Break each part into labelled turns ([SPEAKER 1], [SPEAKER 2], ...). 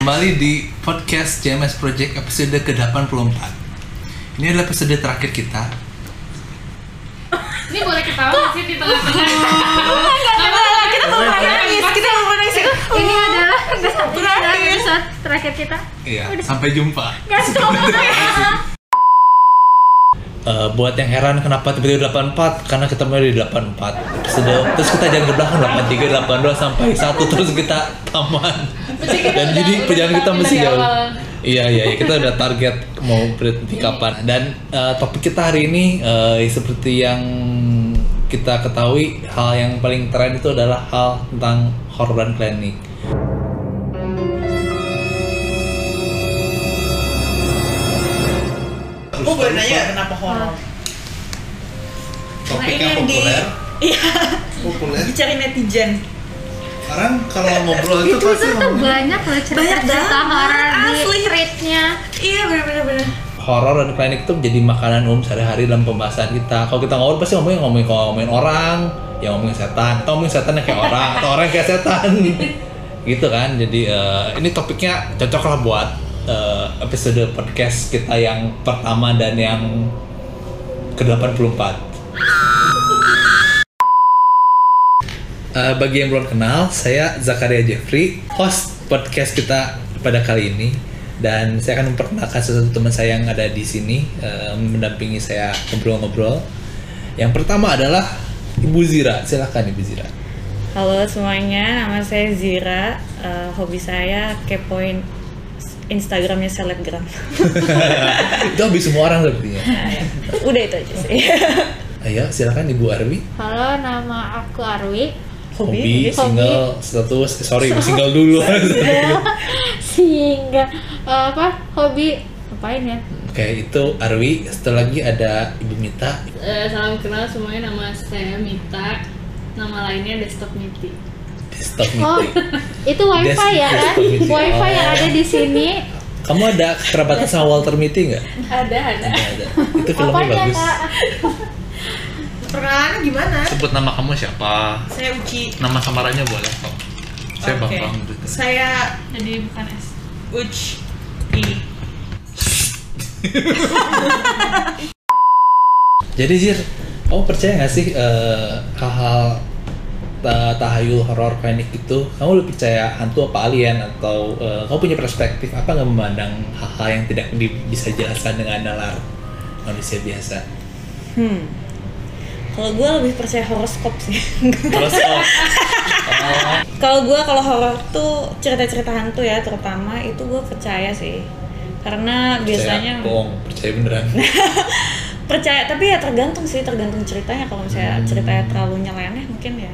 [SPEAKER 1] Kembali di podcast CMS Project episode ke-84 Ini adalah episode terakhir kita
[SPEAKER 2] Ini boleh ketawa nggak sih di tengah-tengah?
[SPEAKER 3] kita mau nangis, kita mau ya. nangis.
[SPEAKER 4] Ini adalah ini adalah
[SPEAKER 2] ya?
[SPEAKER 4] episode terakhir kita.
[SPEAKER 1] Iya, sampai jumpa Eh, buat yang heran kenapa tiba-tiba 84 karena kita mulai di 84 episode terus kita jalan ke belakang 83 82 sampai 1 terus kita taman
[SPEAKER 2] Berarti kita
[SPEAKER 1] dan
[SPEAKER 2] udah-
[SPEAKER 1] jadi
[SPEAKER 2] udah
[SPEAKER 1] perjalanan kita
[SPEAKER 2] tetapin
[SPEAKER 1] masih
[SPEAKER 2] dari
[SPEAKER 1] jauh
[SPEAKER 2] awal.
[SPEAKER 1] iya iya iya, kita udah target mau berhenti kapan dan eh, topik kita hari ini eh, seperti yang kita ketahui hal yang paling tren itu adalah hal tentang horror dan klinik
[SPEAKER 3] Gue boleh nanya nggak kenapa horor? Karena ini yang di Iya,
[SPEAKER 5] populer
[SPEAKER 3] dicari netizen.
[SPEAKER 5] orang kalau ngobrol
[SPEAKER 4] Di
[SPEAKER 5] itu pasti
[SPEAKER 3] Eh,
[SPEAKER 4] Twitter tuh
[SPEAKER 5] ngomongin
[SPEAKER 4] banyak loh cerita-cerita
[SPEAKER 3] banget,
[SPEAKER 4] horor di
[SPEAKER 3] asli.
[SPEAKER 4] tweetnya.
[SPEAKER 3] Iya, bener-bener.
[SPEAKER 1] horor dan klinik itu menjadi makanan umum sehari-hari dalam pembahasan kita. Kalau kita ngomong pasti ngomongin ngomongin kalau ngomongin orang, ya ngomongin setan, atau ngomongin setan yang kayak orang, atau orang yang kayak setan, gitu kan. Jadi eh, ini topiknya cocok lah buat eh, episode podcast kita yang pertama dan yang ke 84 Eh, bagi yang belum kenal, saya Zakaria Jeffrey, host podcast kita pada kali ini. Dan saya akan memperkenalkan sesuatu teman saya yang ada di sini, eh, mendampingi saya ngobrol-ngobrol. Yang pertama adalah Ibu Zira. Silahkan Ibu Zira.
[SPEAKER 6] Halo semuanya, nama saya Zira. Eh, hobi saya kepoin Instagramnya selebgram.
[SPEAKER 1] Itu hobi semua orang sepertinya.
[SPEAKER 6] Udah itu aja sih.
[SPEAKER 1] Ayo, silahkan Ibu Arwi.
[SPEAKER 4] Halo, nama aku Arwi.
[SPEAKER 1] Hobi,
[SPEAKER 6] hobi.
[SPEAKER 1] single, status, eh, sorry, single dulu. Oke,
[SPEAKER 4] Sehingga eh, apa? Hobi ngapain ya?
[SPEAKER 1] itu Arwi. Setelah lagi ada Ibu Mita.
[SPEAKER 2] Eh, salam kenal semuanya nama saya Mita nama lainnya Desktop Miti
[SPEAKER 1] Desktop
[SPEAKER 4] Oh,
[SPEAKER 1] Mita.
[SPEAKER 4] itu wifi ya kan?
[SPEAKER 1] Desktop meeting.
[SPEAKER 4] Wifi yang
[SPEAKER 1] Oh.
[SPEAKER 4] ada di sini.
[SPEAKER 1] Kamu ada kekerabatan sama Walter Mitty nggak?
[SPEAKER 2] ada ada
[SPEAKER 1] Nggak ada. Itu filmnya
[SPEAKER 4] Apanya,
[SPEAKER 1] bagus.
[SPEAKER 4] Kak?
[SPEAKER 3] Perkenalan gimana?
[SPEAKER 1] Sebut nama kamu siapa?
[SPEAKER 3] Saya Uci.
[SPEAKER 1] Nama samarannya boleh kok. Saya
[SPEAKER 3] Oke.
[SPEAKER 1] Bambang Duta.
[SPEAKER 3] Saya
[SPEAKER 2] jadi bukan S
[SPEAKER 3] Uci. I.
[SPEAKER 1] Jadi Zir, kamu percaya nggak sih eh, hal-hal ta- tahayul horor klinik itu? Kamu lebih percaya hantu apa alien atau eh, kamu punya perspektif apa nggak memandang hal-hal yang tidak di- bisa dijelaskan dengan nalar manusia biasa?
[SPEAKER 6] Hmm. Kalau gue lebih percaya horoskop sih.
[SPEAKER 1] Terus oh, oh,
[SPEAKER 6] kalau gue kalau horor tuh cerita-cerita hantu ya terutama itu gue percaya sih. Karena
[SPEAKER 1] percaya Oh.
[SPEAKER 6] biasanya
[SPEAKER 1] bohong, percaya beneran.
[SPEAKER 6] percaya tapi ya tergantung sih tergantung ceritanya kalau misalnya ceritanya terlalu nyeleneh mungkin ya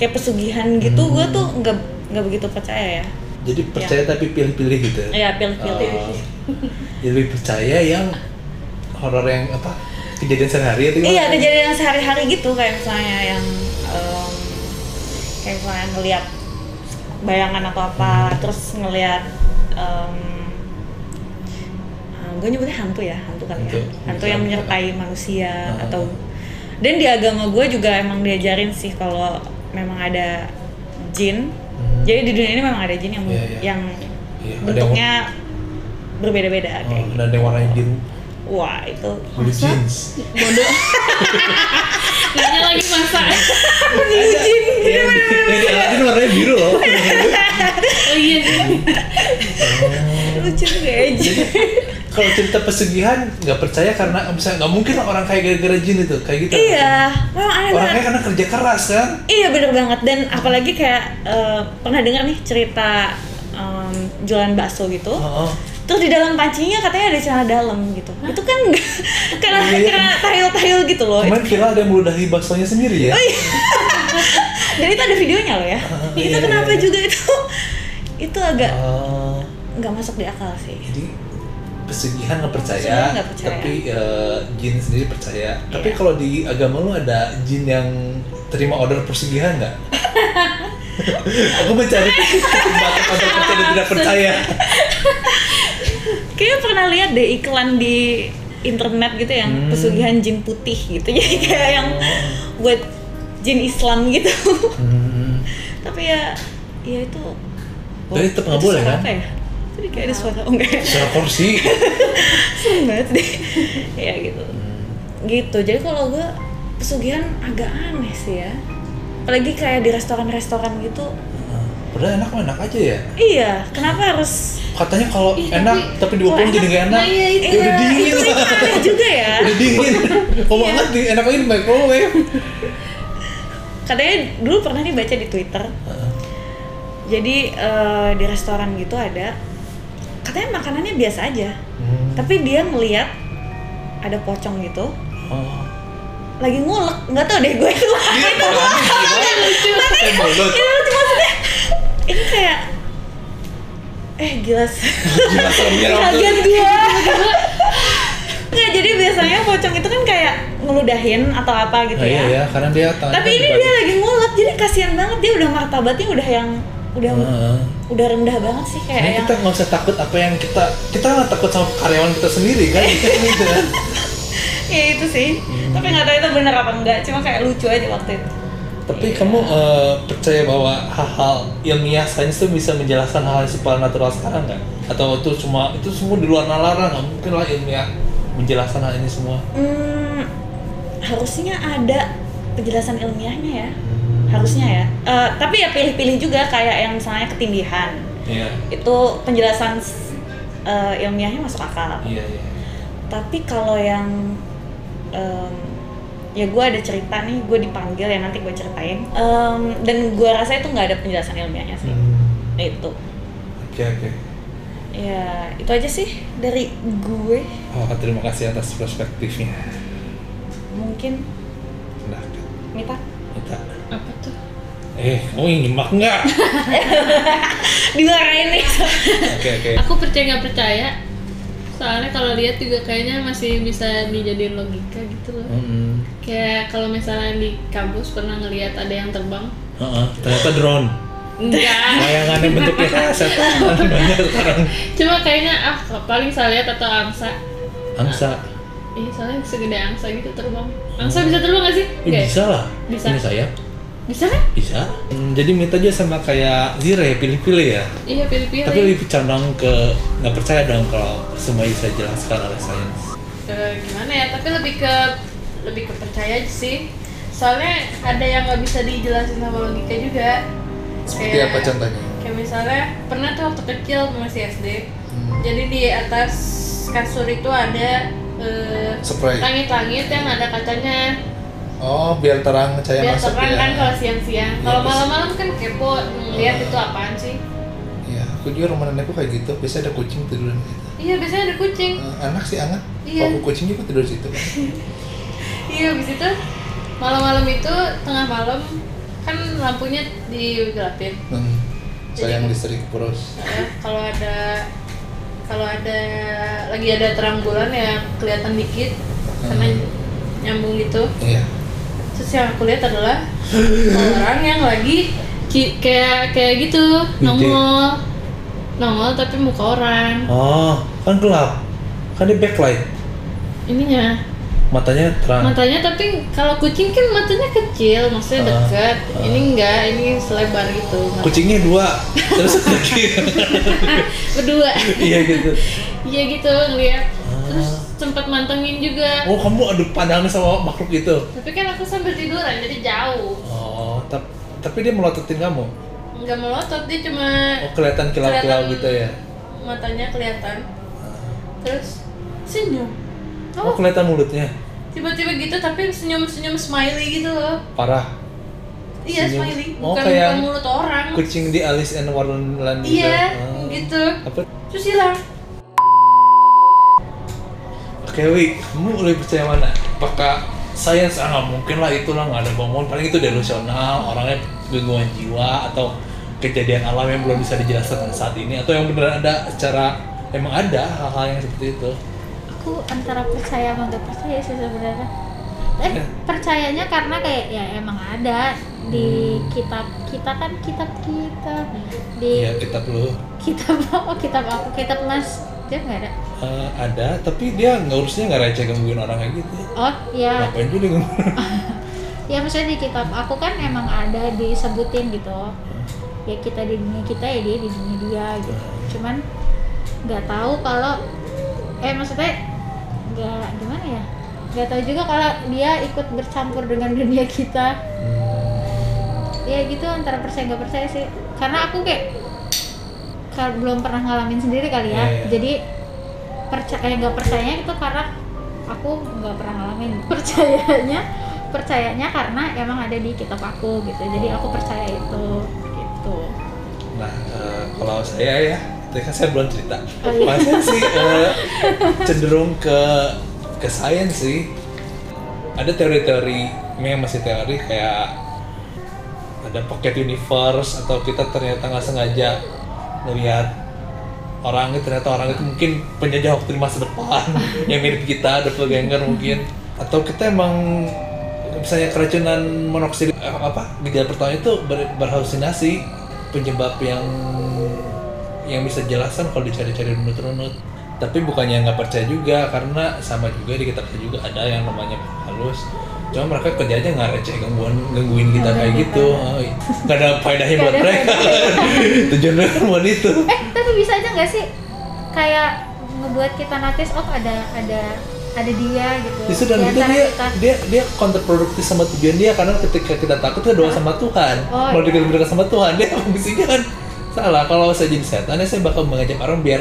[SPEAKER 6] kayak pesugihan gitu gue tuh nggak nggak begitu percaya ya.
[SPEAKER 1] Jadi percaya tapi pilih-pilih gitu.
[SPEAKER 6] Iya, pilih-pilih.
[SPEAKER 1] Oh, jadi lebih percaya yang horor yang apa? Kejadian sehari-hari atau gimana?
[SPEAKER 6] Iya kejadian yang sehari-hari gitu kayak misalnya yang em, kayak misalnya ngelihat bayangan atau apa terus ngelihat em, eh, gue nyebutnya hantu ya hantu kali ya
[SPEAKER 1] Hantu. Ah.
[SPEAKER 6] hantu yang menyertai manusia atau dan di agama gue juga emang diajarin sih kalau memang ada jin
[SPEAKER 1] Hmm.
[SPEAKER 6] jadi di dunia ini memang ada jin yang
[SPEAKER 1] Iya, iya.
[SPEAKER 6] yang
[SPEAKER 1] Iya, ada yang-
[SPEAKER 6] bentuknya berbeda-beda
[SPEAKER 1] Oh,
[SPEAKER 6] kayak gitu.
[SPEAKER 1] dan ada yang warnanya biru.
[SPEAKER 6] wah itu
[SPEAKER 1] Blue jeans.
[SPEAKER 2] nanya lagi masa
[SPEAKER 1] Yang
[SPEAKER 6] Iya,
[SPEAKER 1] di Aladdin Iya, warnanya biru loh.
[SPEAKER 2] oh iya sih
[SPEAKER 6] lucu juga ya jin
[SPEAKER 1] Kalau cerita pesugihan nggak percaya karena bisa nggak mungkin lah orang kayak gara-gara jin itu kayak gitu.
[SPEAKER 6] Iya, memang
[SPEAKER 1] Orang
[SPEAKER 6] aneh banget.
[SPEAKER 1] kayak karena kerja keras kan.
[SPEAKER 6] Iya bener banget dan apalagi kayak eh, pernah dengar nih cerita em, jualan bakso gitu.
[SPEAKER 1] Oh, oh.
[SPEAKER 6] Terus di dalam pancinya katanya ada celana dalam gitu. Itu kan nggak- karena
[SPEAKER 1] Iya, iya.
[SPEAKER 6] karena tahil-tahil gitu loh.
[SPEAKER 1] Kemarin viral ada yang meludahi baksonya sendiri
[SPEAKER 6] Oh,
[SPEAKER 1] ya.
[SPEAKER 6] Dan itu ada videonya loh ya.
[SPEAKER 1] Ah,
[SPEAKER 6] itu
[SPEAKER 1] iya, iya.
[SPEAKER 6] kenapa juga itu itu agak
[SPEAKER 1] Oh,
[SPEAKER 6] nggak masuk di akal sih.
[SPEAKER 1] jadi pesugihan nggak
[SPEAKER 6] Pesugihan
[SPEAKER 1] percaya,
[SPEAKER 6] nggak percaya.
[SPEAKER 1] tapi eh, jin sendiri percaya. Tapi
[SPEAKER 6] Iya.
[SPEAKER 1] kalau di agama lu ada jin yang terima order pesugihan nggak? Aku mencari tempat untuk percaya dan tidak percaya.
[SPEAKER 6] Kayaknya pernah lihat deh iklan di internet gitu yang
[SPEAKER 1] Hmm. Oh.
[SPEAKER 6] pesugihan jin putih gitu jadi kayak yang buat jin Islam gitu
[SPEAKER 1] Hmm.
[SPEAKER 6] tapi ya ya itu
[SPEAKER 1] Tapi tetep nggak
[SPEAKER 6] itu
[SPEAKER 1] boleh,
[SPEAKER 6] suara
[SPEAKER 1] kan?
[SPEAKER 6] apa ya? Tadi kayak ada suara oh enggak
[SPEAKER 1] Suara kursi.
[SPEAKER 6] serem banget deh ya gitu
[SPEAKER 1] Hmm.
[SPEAKER 6] gitu jadi kalau gue pesugihan agak aneh sih ya apalagi kayak di restoran-restoran gitu
[SPEAKER 1] Padahal enak mah enak aja ya.
[SPEAKER 6] iya kenapa harus
[SPEAKER 1] Katanya kalau enak tapi dihukum jadi nggak enak.
[SPEAKER 2] Nah, iya, itu.
[SPEAKER 1] Ya udah dingin
[SPEAKER 6] itu
[SPEAKER 1] lah.
[SPEAKER 6] aneh juga ya
[SPEAKER 1] Udah dingin. Kok banget di enak aja di microwave.
[SPEAKER 6] katanya dulu pernah nih baca di twitter jadi eh, di restoran gitu ada katanya makanannya biasa aja
[SPEAKER 1] Hmm.
[SPEAKER 6] tapi dia melihat ada pocong gitu
[SPEAKER 1] Oh.
[SPEAKER 6] lagi ngulek nggak tau deh gue itu
[SPEAKER 1] Gila, apaan sih, gila? Kayak Eh, bolot.
[SPEAKER 6] itu lucu maksudnya ini kayak eh
[SPEAKER 1] Gila,
[SPEAKER 6] gila Iya,
[SPEAKER 1] seremnya langsung.
[SPEAKER 6] kaget gue nggak jadi biasanya pocong itu kan kayak ngeludahin atau apa gitu
[SPEAKER 1] Nah, iya
[SPEAKER 6] ya
[SPEAKER 1] ya, karena dia tangannya
[SPEAKER 6] tapi
[SPEAKER 1] kan
[SPEAKER 6] ini
[SPEAKER 1] dibalik.
[SPEAKER 6] dia lagi ngulek jadi kasihan banget dia udah martabatnya udah yang udah
[SPEAKER 1] Heeh.
[SPEAKER 6] udah rendah banget sih kayak
[SPEAKER 1] Nah,
[SPEAKER 6] yang
[SPEAKER 1] Ah. kita nggak usah takut apa yang kita kita nggak takut sama karyawan kita sendiri kan Kita gitu kan.
[SPEAKER 6] ya itu sih tapi nggak tahu itu bener apa enggak cuma kayak lucu aja waktu itu
[SPEAKER 1] tapi kamu eh, percaya bahwa hal-hal ilmiah sains itu bisa menjelaskan hal-hal supernatural sekarang nggak atau itu cuma itu semua di luar nalar nggak mungkin lah ilmiah menjelaskan hal ini semua
[SPEAKER 6] Hmm, harusnya ada penjelasan ilmiahnya ya. Harusnya ya. Eh, tapi ya pilih-pilih juga kayak yang misalnya ketindihan.
[SPEAKER 1] iya
[SPEAKER 6] Itu penjelasan eh, ilmiahnya masuk akal.
[SPEAKER 1] iya iya
[SPEAKER 6] Tapi kalau yang em, ya gue ada cerita nih, gue dipanggil ya nanti gue ceritain. Em, dan gue rasa itu nggak ada penjelasan ilmiahnya sih.
[SPEAKER 1] Hmm,
[SPEAKER 6] Itu.
[SPEAKER 1] oke oke
[SPEAKER 6] Ya, itu aja sih dari gue.
[SPEAKER 1] oh, terima kasih atas perspektifnya
[SPEAKER 6] Mungkin
[SPEAKER 1] nah
[SPEAKER 6] Mita
[SPEAKER 1] kita
[SPEAKER 2] Apa tuh?
[SPEAKER 1] eh kamu ingin nyimak nggak
[SPEAKER 6] dimarahin nih.
[SPEAKER 1] oke oke
[SPEAKER 2] Aku percaya nggak percaya. Soalnya kalau lihat juga kayaknya masih bisa dijadiin logika gitu loh.
[SPEAKER 1] Mm-mm.
[SPEAKER 2] Kayak kalau misalnya di kampus pernah ngelihat ada yang terbang.
[SPEAKER 1] Heeh, Uh-uh. ternyata drone
[SPEAKER 2] Enggak.
[SPEAKER 1] bayangannya bentuknya kayak setan banyak sekarang
[SPEAKER 2] Cuma kayaknya ah paling saya lihat atau angsa.
[SPEAKER 1] angsa
[SPEAKER 2] Iya, soalnya segede angsa gitu terbang. Angsa bisa terbang nggak sih?
[SPEAKER 1] Eh,
[SPEAKER 2] Nggak ya?
[SPEAKER 1] bisa lah
[SPEAKER 2] Bisa.
[SPEAKER 1] ini sayap
[SPEAKER 2] Bisa kan?
[SPEAKER 1] bisa Hmm, jadi minta aja sama kayak Zira ya pilih-pilih ya
[SPEAKER 2] Iya, pilih-pilih.
[SPEAKER 1] tapi lebih condong ke nggak percaya dong kalau semua bisa dijelaskan oleh sains
[SPEAKER 2] Eh, gimana ya tapi lebih ke lebih ke percaya aja sih soalnya ada yang nggak bisa dijelasin sama logika juga
[SPEAKER 5] Seperti apa
[SPEAKER 2] Iya.
[SPEAKER 5] contohnya?
[SPEAKER 2] kayak misalnya pernah tuh waktu kecil masih SD
[SPEAKER 5] Hmm.
[SPEAKER 2] jadi di atas kasur itu ada eh,
[SPEAKER 5] Spray.
[SPEAKER 2] langit-langit yang ada kacanya
[SPEAKER 5] Oh, biar terang cahaya
[SPEAKER 2] biar
[SPEAKER 5] masuk
[SPEAKER 2] terang
[SPEAKER 5] ya.
[SPEAKER 2] kan kalau siang-siang kalau
[SPEAKER 5] Iya, terus-
[SPEAKER 2] malam-malam kan kepo ngeliat itu apaan sih
[SPEAKER 5] Iya, aku juga rumah nenekku kayak gitu. Biasanya ada kucing tiduran gitu.
[SPEAKER 2] iya biasanya ada kucing
[SPEAKER 5] Eh, anak sih anget.
[SPEAKER 2] Iya.
[SPEAKER 5] Kalau kucing juga tidur situ. kan.
[SPEAKER 2] Iya, abis itu malam-malam itu tengah malam kan lampunya digelapin.
[SPEAKER 5] Hmm. Sayang
[SPEAKER 2] Jadi-
[SPEAKER 5] listrik boros.
[SPEAKER 2] Nah, kalau ada kalau ada lagi ada terang bulan ya kelihatan dikit karena
[SPEAKER 1] Hmm.
[SPEAKER 2] nyambung gitu.
[SPEAKER 5] Iya.
[SPEAKER 2] Terus yang aku lihat adalah orang yang lagi ki- kayak kayak gitu nongol nongol tapi muka orang
[SPEAKER 1] oh kan gelap kan dia backlight
[SPEAKER 2] ininya
[SPEAKER 1] matanya terang
[SPEAKER 2] matanya tapi kalau kucing kan matanya kecil
[SPEAKER 1] Ah.
[SPEAKER 2] maksudnya dekat ini enggak ini selebar gitu
[SPEAKER 1] kucingnya dua terus kaki
[SPEAKER 2] berdua
[SPEAKER 1] iya gitu
[SPEAKER 2] iya gitu ngeliat terus
[SPEAKER 1] Ah.
[SPEAKER 2] sempat mantengin juga
[SPEAKER 1] oh kamu ada pandangan sama makhluk itu
[SPEAKER 2] tapi kan aku sambil tiduran jadi jauh
[SPEAKER 1] oh tap- tapi dia melototin kamu
[SPEAKER 2] nggak melotot dia cuma
[SPEAKER 1] oh kelihatan kilau-kilau
[SPEAKER 2] Kelihatan.
[SPEAKER 1] gitu ya
[SPEAKER 2] matanya kelihatan terus senyum
[SPEAKER 1] oh
[SPEAKER 2] oh
[SPEAKER 1] kelihatan mulutnya
[SPEAKER 2] tiba-tiba gitu tapi senyum senyum smiley gitu loh
[SPEAKER 1] parah
[SPEAKER 2] iya
[SPEAKER 1] Senyum.
[SPEAKER 2] smiley
[SPEAKER 1] Oh,
[SPEAKER 2] bukan
[SPEAKER 1] kayak
[SPEAKER 2] bukan mulut orang
[SPEAKER 1] kucing di Alice and Wonderland gitu.
[SPEAKER 2] iya
[SPEAKER 1] Ah.
[SPEAKER 2] gitu
[SPEAKER 1] Apa?
[SPEAKER 2] terus hilang
[SPEAKER 1] Oke, Wi, kamu lebih percaya mana? Apakah sains ah nggak mungkin lah itu lah nggak ada bangun paling itu delusional orangnya gangguan jiwa atau kejadian alam yang belum bisa dijelaskan saat ini atau yang beneran ada secara emang ada hal-hal yang seperti itu
[SPEAKER 4] aku antara percaya sama nggak percaya sih sebenarnya eh percayanya karena kayak ya emang ada di kitab kita kan kitab kita di
[SPEAKER 1] Iya, kita perlu
[SPEAKER 4] Oh, kitab apa kitab aku kitab nas Jeff nggak ada?
[SPEAKER 1] Eh, ada, tapi dia nggak urusnya nggak receh gangguin orang kayak gitu.
[SPEAKER 4] Oh iya,
[SPEAKER 1] Ngapain juga gangguin?
[SPEAKER 4] ya maksudnya di kitab aku kan emang ada disebutin gitu ya kita di dunia kita ya dia di dunia dia gitu cuman nggak tahu kalau eh maksudnya nggak gimana ya nggak tahu juga kalau dia ikut bercampur dengan dunia kita
[SPEAKER 1] Hmm.
[SPEAKER 4] ya gitu antara percaya nggak percaya sih karena aku kayak kal- belum pernah ngalamin sendiri kali
[SPEAKER 1] Iya,
[SPEAKER 4] ya
[SPEAKER 1] iya.
[SPEAKER 4] jadi percaya nggak percayanya itu karena aku nggak pernah ngalamin percayanya percayanya karena emang ada di kitab aku gitu
[SPEAKER 1] Oh.
[SPEAKER 4] jadi aku percaya itu gitu
[SPEAKER 1] Nah, eh, kalau saya ya, tadi kan saya belum cerita. Kalau saya sih eh, cenderung ke ke sains sih. Ada teori-teori, memang masih teori kayak ada pocket universe atau kita ternyata nggak sengaja melihat orang itu ternyata orang itu mungkin penjajah waktu di masa depan yang mirip kita, doppelganger mungkin atau kita emang misalnya keracunan monoksida eh, apa gejala pertama itu ber- berhalusinasi penyebab yang yang bisa jelasan kalau dicari-cari runut-runut tapi bukannya nggak percaya juga karena sama juga di kitab juga ada yang namanya halus cuma mereka kerjanya nggak receh gangguan gangguin kita kayak gitu Eh, nggak ada faedahnya buat mereka tujuan mereka buat itu
[SPEAKER 4] eh tapi bisa aja nggak sih kayak ngebuat kita notice oh ada ada ada dia gitu
[SPEAKER 1] Justru dan
[SPEAKER 4] di
[SPEAKER 1] itu
[SPEAKER 4] antara
[SPEAKER 1] dia,
[SPEAKER 4] kita.
[SPEAKER 1] dia dia counterproductive sama tujuan dia karena ketika kita takut kita doa sama Tuhan.
[SPEAKER 4] Oh,
[SPEAKER 1] Kalau
[SPEAKER 4] iya.
[SPEAKER 1] kita berdoa sama Tuhan dia fungsinya kan salah. Kalau saya jadi setan ya saya bakal mengajak orang biar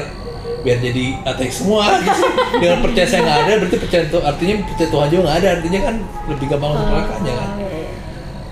[SPEAKER 1] biar jadi ateis semua. Dengan percaya saya nggak ada berarti percaya Tuhan artinya percaya Tuhan juga nggak ada artinya kan lebih gampang
[SPEAKER 4] Oh.
[SPEAKER 1] untuk nerakanya kan.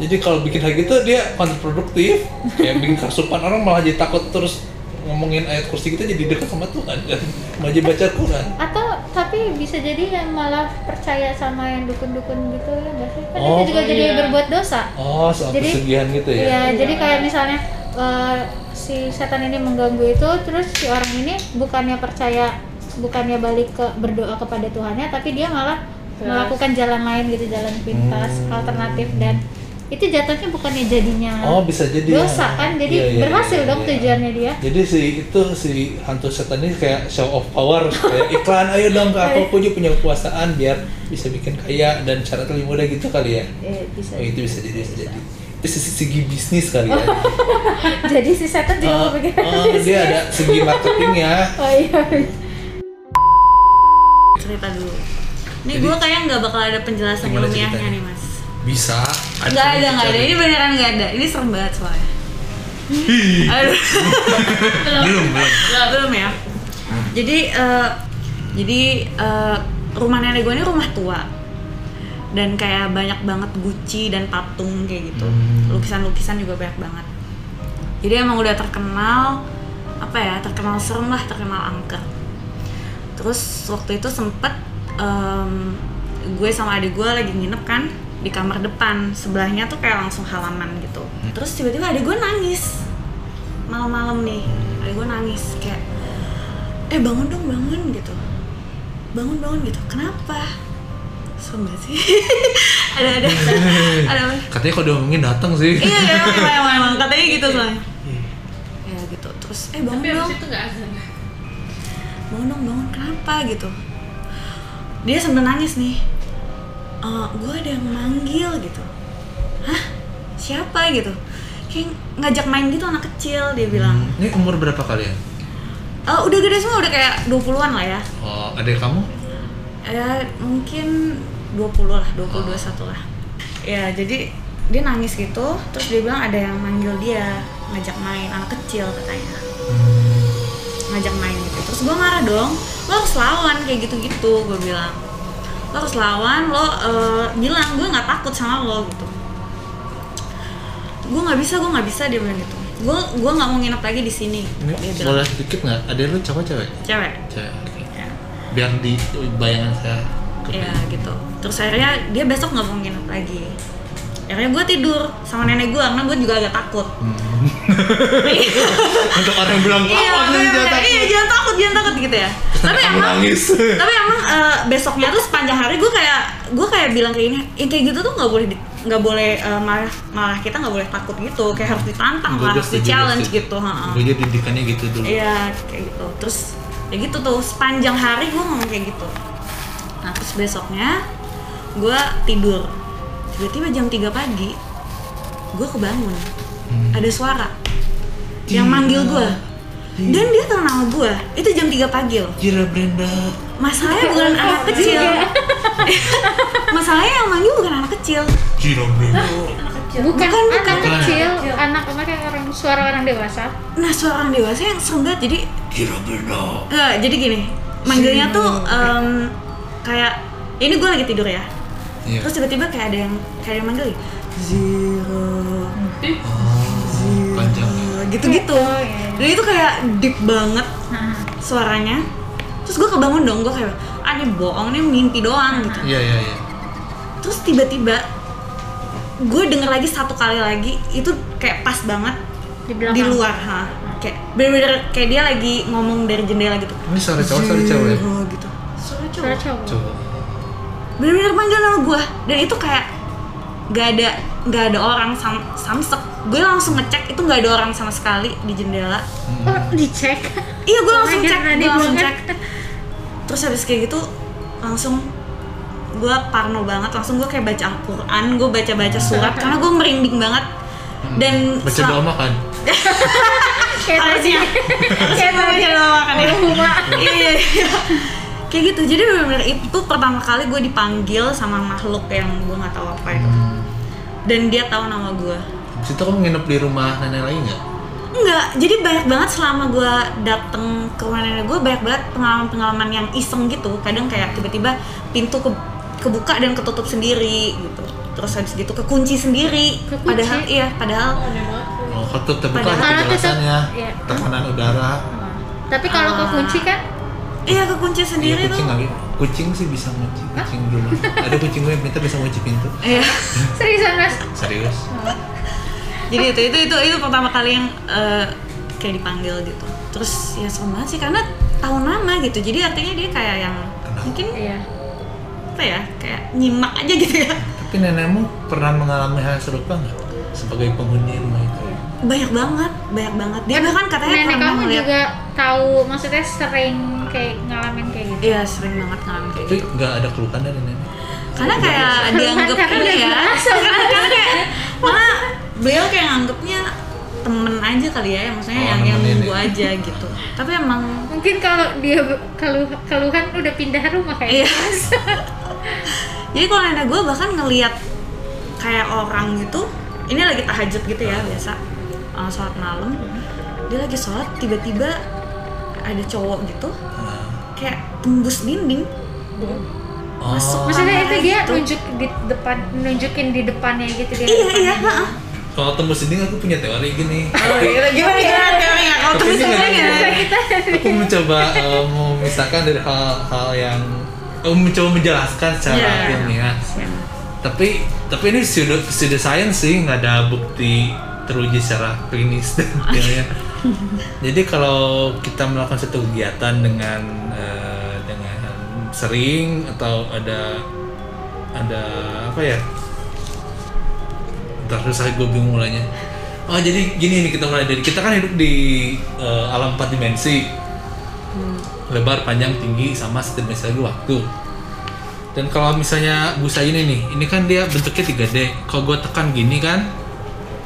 [SPEAKER 1] Jadi kalau bikin hal gitu dia kontraproduktif, kayak bikin kerasupan orang malah jadi takut terus ngomongin ayat kursi kita jadi dekat sama Tuhan kan, malah jadi baca Quran.
[SPEAKER 4] atau tapi bisa jadi yang malah percaya sama yang dukun-dukun gitu ya nggak sih kan
[SPEAKER 1] Oh,
[SPEAKER 4] itu juga jadi
[SPEAKER 2] iya.
[SPEAKER 4] berbuat dosa
[SPEAKER 1] Oh soal
[SPEAKER 4] Jadi-
[SPEAKER 1] pesugihan gitu ya?
[SPEAKER 4] Iya, jadi kayak misalnya eh, si setan ini mengganggu itu, terus si orang ini bukannya percaya, bukannya balik ke berdoa kepada Tuhannya, tapi dia malah melakukan jalan lain gitu, jalan pintas, alternatif dan itu jatuhnya bukannya jadinya
[SPEAKER 1] Hmm. Oh bisa jadi ya.
[SPEAKER 4] dosa kan, jadi
[SPEAKER 1] Iya, iya,
[SPEAKER 4] berhasil
[SPEAKER 1] iya,
[SPEAKER 4] dong
[SPEAKER 1] iya.
[SPEAKER 4] tujuannya dia.
[SPEAKER 1] Jadi si itu si hantu setan ini kayak show of power kayak iklan ayo dong ke aku aku juga punya kekuasaan biar bisa bikin kaya dan syaratnya lebih mudah gitu kali ya.
[SPEAKER 2] Eh, bisa.
[SPEAKER 1] Oh, itu bisa jadi bisa jadi. Itu sisi segi bisnis kali ya.
[SPEAKER 4] Oh, jadi si setan
[SPEAKER 1] Eh,
[SPEAKER 4] juga berpikir
[SPEAKER 1] eh, dia ada segi marketing ya.
[SPEAKER 4] Oh iya.
[SPEAKER 6] cerita dulu ini
[SPEAKER 1] Jadi-
[SPEAKER 6] gue kayak nggak bakal ada penjelasan
[SPEAKER 1] Gimana
[SPEAKER 6] ilmiahnya
[SPEAKER 1] ceritanya?
[SPEAKER 6] nih mas
[SPEAKER 1] Bisa.
[SPEAKER 6] nggak ada nggak ada ini beneran nggak ada ini serem banget soalnya Aduh.
[SPEAKER 1] Belum belum.
[SPEAKER 6] Belum, belum ya. Jadi eh, jadi eh, rumah nenek gue ini rumah tua dan kayak banyak banget guci dan patung kayak gitu.
[SPEAKER 1] Hmm.
[SPEAKER 6] Lukisan-lukisan juga banyak banget. Jadi emang udah terkenal apa ya? Terkenal serem lah, terkenal angker. Terus waktu itu sempet em, gue sama adik gue lagi nginep kan di kamar depan sebelahnya tuh kayak langsung halaman gitu. Terus tiba-tiba adik gue nangis malam-malam nih adik gue nangis kayak eh bangun dong bangun gitu bangun bangun gitu kenapa serem banget sih ada ada ada apa?
[SPEAKER 1] Katanya kalau diomongin datang sih.
[SPEAKER 6] iya iya emang, emang, emang, emang. katanya gitu soalnya ya gitu terus eh bangun
[SPEAKER 2] Tapi
[SPEAKER 6] dong
[SPEAKER 2] abis itu nggak azan.
[SPEAKER 6] bangun dong bangun kenapa gitu dia sambil nangis nih Eh, gue ada yang manggil gitu hah siapa gitu kayak ngajak main gitu anak kecil dia bilang
[SPEAKER 1] Hmm, Ini umur berapa kalian?
[SPEAKER 6] "Eh, udah gede semua udah kayak 20-an lah ya
[SPEAKER 1] Oh, ada kamu?
[SPEAKER 6] ya mungkin 20 lah, 20 21 lah. Ya, jadi dia nangis gitu, terus dia bilang ada yang manggil dia, ngajak main anak kecil katanya. Ngajak main gitu. Terus gue marah dong. Lo harus lawan kayak gitu-gitu, gue bilang. Lo harus lawan, lo eh, bilang gue nggak takut sama lo gitu. Gue nggak bisa, gue nggak bisa dia bilang gitu. Gue gue nggak mau nginep lagi di sini.
[SPEAKER 1] Ini
[SPEAKER 6] Dia Iya, bilang. gitu.
[SPEAKER 1] boleh sedikit nggak? Ada lu cowok cewek?
[SPEAKER 6] Cewek.
[SPEAKER 1] Cewek. oke.
[SPEAKER 6] Ya.
[SPEAKER 1] Biar di oh, bayangan saya.
[SPEAKER 6] Iya gitu. Terus akhirnya dia besok nggak mau nginep lagi. Akhirnya gue tidur sama nenek gue karena gue juga agak takut. Hmm.
[SPEAKER 1] Untuk orang yang bilang
[SPEAKER 6] Iya, bener-bener. iya jangan takut, jangan takut gitu ya. Tapi
[SPEAKER 1] Kamu
[SPEAKER 6] emang,
[SPEAKER 1] nangis.
[SPEAKER 6] tapi emang eh, besoknya tuh sepanjang hari gue kayak gue kayak bilang kayak ini, "Ih, kayak gitu tuh nggak boleh di- nggak boleh eh, marah marah kita nggak boleh takut gitu kayak harus ditantang lah harus di challenge gitu ha-ha.
[SPEAKER 1] Gue jadi didikannya gitu dulu.
[SPEAKER 6] iya kayak Iya, gitu terus ya gitu tuh sepanjang hari gue ngomong kayak gitu nah terus besoknya gue tidur tiba-tiba jam 3 pagi gue kebangun
[SPEAKER 1] Hmm.
[SPEAKER 6] ada suara yang manggil gue dan dia tahu nama gue itu jam 3 pagi loh
[SPEAKER 1] Jira Brenda.
[SPEAKER 6] masalahnya bukan anak kecil masalahnya yang manggil bukan anak kecil
[SPEAKER 1] Jira Brenda.
[SPEAKER 4] Bukan,
[SPEAKER 6] Bukan,
[SPEAKER 4] anak
[SPEAKER 1] bukan.
[SPEAKER 4] kecil, anak kayak orang suara orang dewasa.
[SPEAKER 6] nah suara orang dewasa yang serem banget jadi
[SPEAKER 1] Jira Brenda.
[SPEAKER 6] Nggak, jadi gini, manggilnya tuh em, kayak ini gue lagi tidur ya.
[SPEAKER 1] Iya.
[SPEAKER 6] Terus tiba-tiba kayak ada yang kayak ada yang manggil zero
[SPEAKER 1] Oh, panjang. ya.
[SPEAKER 6] gitu-gitu.
[SPEAKER 1] iya.
[SPEAKER 6] Dan itu kayak deep banget suaranya. Terus gue kebangun dong, gue kayak ah ini bohong nih mimpi doang gitu.
[SPEAKER 1] Iya iya iya.
[SPEAKER 6] Terus tiba-tiba gue denger lagi satu kali lagi itu kayak pas banget
[SPEAKER 4] Di belakang.
[SPEAKER 6] di luar ha kayak bener-bener kayak dia lagi ngomong dari jendela gitu
[SPEAKER 1] Ini suara cowok suara cewek. Hmm. ya?
[SPEAKER 6] Zero gitu suara
[SPEAKER 4] Suara cowok.
[SPEAKER 1] Cowok.
[SPEAKER 6] bener-bener manggil nama gue dan itu kayak gak ada gak ada orang sam samsek gue langsung ngecek itu gak ada orang sama sekali di jendela
[SPEAKER 4] Oh, dicek.
[SPEAKER 6] iya gue
[SPEAKER 4] Oh my
[SPEAKER 6] langsung
[SPEAKER 4] God,
[SPEAKER 6] cek
[SPEAKER 4] berani
[SPEAKER 6] gue langsung
[SPEAKER 4] banget.
[SPEAKER 6] cek terus habis kayak gitu langsung gue parno banget langsung gue kayak baca Al-Quran gue baca baca surat karena gue merinding banget dan
[SPEAKER 1] Baca
[SPEAKER 6] selam-
[SPEAKER 1] doa makan.
[SPEAKER 4] Kayak Oh, tadi.
[SPEAKER 6] harusnya kayak baca doa makan ya Iya, iya, iya. kayak gitu jadi benar-benar itu pertama kali gue dipanggil sama makhluk yang gue nggak tahu apa ya. itu dan dia tahu nama gue
[SPEAKER 1] Hmm. Habis itu kamu nginep di rumah nenek lagi nggak?
[SPEAKER 6] Enggak, jadi banyak banget selama gue dateng ke rumah nenek gue banyak banget pengalaman-pengalaman yang iseng gitu kadang kayak tiba-tiba pintu ke- kebuka dan ketutup sendiri gitu terus habis gitu kekunci sendiri
[SPEAKER 4] Kekunci?
[SPEAKER 6] padahal iya padahal
[SPEAKER 1] Oh, kalau terbuka
[SPEAKER 6] Padahal
[SPEAKER 1] ada
[SPEAKER 4] tetap-
[SPEAKER 1] penjelasannya.
[SPEAKER 4] iya.
[SPEAKER 1] Tekanan udara.
[SPEAKER 6] Ah.
[SPEAKER 4] Tapi kalau kekunci kan
[SPEAKER 6] iya kekunci
[SPEAKER 1] Iya
[SPEAKER 6] sendiri
[SPEAKER 1] kucing
[SPEAKER 6] tuh
[SPEAKER 1] nggak? Kucing sih bisa ngunci kucing di rumah. Ada kucing gue yang pintar bisa ngunci pintu.
[SPEAKER 6] iya
[SPEAKER 4] seriusan Mas.
[SPEAKER 1] Serius?
[SPEAKER 6] Oh. jadi itu itu itu itu pertama kali yang eh, kayak dipanggil gitu terus ya serem banget sih karena tahu nama gitu jadi artinya dia kayak yang mungkin
[SPEAKER 4] Iya.
[SPEAKER 6] apa ya kayak nyimak aja gitu ya
[SPEAKER 1] Tapi nenekmu pernah mengalami hal serupa nggak? Sebagai penghuni rumah itu.
[SPEAKER 6] Iya. banyak banget banyak banget dia bahkan katanya
[SPEAKER 4] Nenek
[SPEAKER 6] pernah
[SPEAKER 4] kamu
[SPEAKER 6] ngeliat-
[SPEAKER 4] juga tahu maksudnya sering kayak ngalamin kayak gitu.
[SPEAKER 6] iya sering banget ngalamin kayak
[SPEAKER 1] Tapi
[SPEAKER 6] gitu
[SPEAKER 1] nggak ada keluhan dari nenek.
[SPEAKER 6] karena kayak dianggap
[SPEAKER 4] Iya, Karena
[SPEAKER 6] ini
[SPEAKER 4] udah
[SPEAKER 6] ya
[SPEAKER 4] biasa.
[SPEAKER 6] karena karena kayak malah beliau kayak nganggapnya temen aja kali ya maksudnya
[SPEAKER 1] Oh,
[SPEAKER 6] yang yang
[SPEAKER 1] nemenin
[SPEAKER 6] nunggu
[SPEAKER 1] ya.
[SPEAKER 6] aja gitu tapi emang
[SPEAKER 4] Mungkin kalau dia be- keluh keluhan udah pindah rumah kayak gitu.
[SPEAKER 6] Iya. Jadi kalau nenek gue bahkan ngeliat kayak orang gitu, ini lagi tahajud gitu ya biasa uh, sholat malam,
[SPEAKER 1] Hmm.
[SPEAKER 6] dia lagi sholat tiba-tiba ada cowok gitu kayak tembus dinding
[SPEAKER 1] Oh,
[SPEAKER 6] masuk
[SPEAKER 4] Maksudnya
[SPEAKER 6] kamar
[SPEAKER 4] itu dia
[SPEAKER 6] Iya, gitu.
[SPEAKER 4] nunjuk di depan nunjukin di depannya gitu dia.
[SPEAKER 6] Iya iya. heeh.
[SPEAKER 1] kalau tembus dinding aku punya teori gini.
[SPEAKER 6] Gimana gimana teorinya? Kalau
[SPEAKER 1] Tapi
[SPEAKER 6] tembus
[SPEAKER 1] ini
[SPEAKER 6] dinding
[SPEAKER 1] nggak
[SPEAKER 6] Oh, gimana?
[SPEAKER 1] aku mencoba eh, memisahkan dari hal-hal yang eh, mencoba menjelaskan secara
[SPEAKER 6] Iya.
[SPEAKER 1] ilmiah. Tapi tapi ini pseudo pseudo science sih nggak ada bukti teruji secara klinis dan ilmiah. Jadi kalau kita melakukan satu kegiatan dengan eh, dengan sering atau ada ada apa ya? Ntar susah gue bingung mulainya. Oh jadi gini nih kita mulai dari kita kan hidup di eh, alam empat dimensi, lebar, panjang, tinggi, sama setimis lagi waktu. Dan kalau misalnya busa ini nih, ini kan dia bentuknya 3D. Kalau gue tekan gini kan,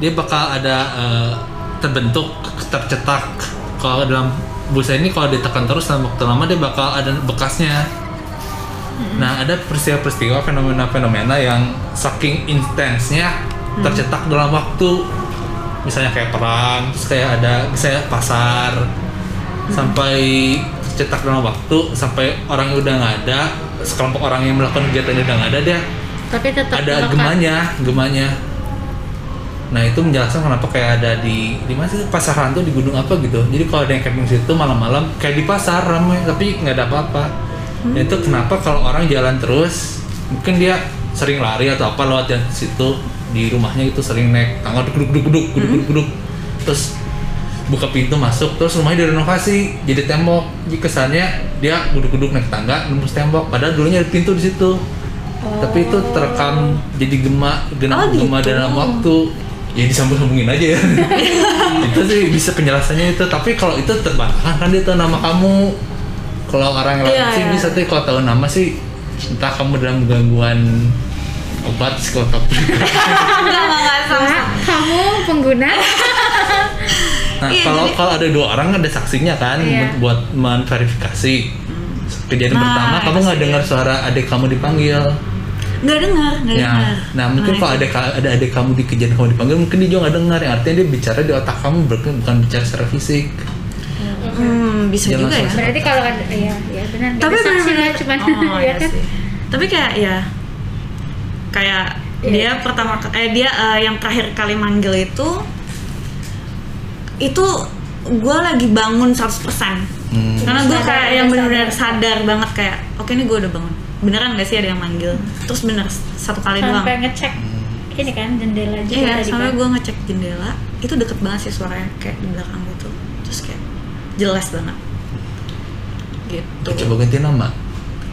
[SPEAKER 1] dia bakal ada eh, terbentuk, tercetak. Kalau dalam busa ini kalau ditekan terus dalam waktu lama dia bakal ada bekasnya. Nah, ada peristiwa-peristiwa fenomena-fenomena yang saking intensnya tercetak dalam waktu. Misalnya kayak perang, terus kayak ada misalnya pasar sampai tercetak dalam waktu sampai orang yang udah nggak ada, sekelompok orang yang melakukan kegiatannya udah nggak ada dia
[SPEAKER 2] Tapi tetap
[SPEAKER 1] ada
[SPEAKER 2] melekat.
[SPEAKER 1] gemanya, gemanya. Nah itu menjelaskan kenapa kayak ada di di mana sih pasar hantu di gunung apa gitu. Jadi kalau ada yang camping situ malam-malam kayak di pasar ramai tapi nggak ada apa-apa.
[SPEAKER 6] Hmm.
[SPEAKER 1] Nah, itu kenapa kalau orang jalan terus mungkin dia sering lari atau apa lewat jalan situ di rumahnya itu sering naik tangga duduk duduk duduk
[SPEAKER 6] Hmm.
[SPEAKER 1] duduk duduk duduk terus buka pintu masuk terus rumahnya direnovasi jadi tembok jadi kesannya dia duduk duduk naik tangga nembus tembok padahal dulunya ada pintu di situ tapi itu terekam jadi gema gema,
[SPEAKER 6] Oh, gitu.
[SPEAKER 1] gema dalam waktu ya disambung sambungin aja ya itu sih bisa penjelasannya itu tapi kalau itu terbantahkan kan dia tahu nama kamu kalau orang lain
[SPEAKER 6] Iya,
[SPEAKER 1] sih
[SPEAKER 6] iya.
[SPEAKER 1] bisa tuh kalau tahu nama sih entah kamu dalam gangguan obat psikotropika.
[SPEAKER 6] enggak enggak enggak sama
[SPEAKER 4] Pak, kamu pengguna
[SPEAKER 1] Nah,
[SPEAKER 6] Iya,
[SPEAKER 1] kalau
[SPEAKER 6] jadi-
[SPEAKER 1] kalau ada dua orang ada saksinya kan
[SPEAKER 4] Iya.
[SPEAKER 1] buat menverifikasi. Kejadian
[SPEAKER 6] Nah,
[SPEAKER 1] pertama kamu
[SPEAKER 6] itu
[SPEAKER 1] nggak
[SPEAKER 6] sih.
[SPEAKER 1] dengar suara adik kamu dipanggil.
[SPEAKER 6] enggak dengar enggak
[SPEAKER 1] Ya.
[SPEAKER 6] dengar
[SPEAKER 1] Nah, mungkin kalau ada ka- ada adik kamu di kejadian kamu dipanggil mungkin dia juga nggak dengar. Yang artinya dia bicara di otak kamu berarti bukan bicara secara fisik.
[SPEAKER 6] hmm, bisa
[SPEAKER 1] Dia
[SPEAKER 6] juga
[SPEAKER 1] langsung
[SPEAKER 6] ya
[SPEAKER 4] berarti kalau ada ya ya benar nggak
[SPEAKER 6] tapi
[SPEAKER 4] ada saksi
[SPEAKER 6] benar-benar
[SPEAKER 4] ya, cuman
[SPEAKER 6] oh,
[SPEAKER 4] ya
[SPEAKER 6] iya
[SPEAKER 4] kan
[SPEAKER 6] sih. tapi kayak ya kayak dia pertama k- eh dia eh, yang terakhir kali manggil itu itu gue lagi bangun 100%
[SPEAKER 1] Hmm.
[SPEAKER 6] karena gue
[SPEAKER 4] Sadar,
[SPEAKER 6] kayak
[SPEAKER 4] udah
[SPEAKER 6] yang benar-benar
[SPEAKER 4] sadar.
[SPEAKER 6] sadar banget kayak oke ini gue udah bangun beneran gak sih ada yang manggil terus bener satu kali doang
[SPEAKER 4] sampai ngecek ini kan jendela juga
[SPEAKER 6] Iya,
[SPEAKER 4] tadi
[SPEAKER 6] soalnya
[SPEAKER 4] kan.
[SPEAKER 6] gue ngecek jendela, itu deket banget sih suaranya kayak di belakang gitu. Terus kayak jelas banget. Gitu.
[SPEAKER 1] Coba ganti nama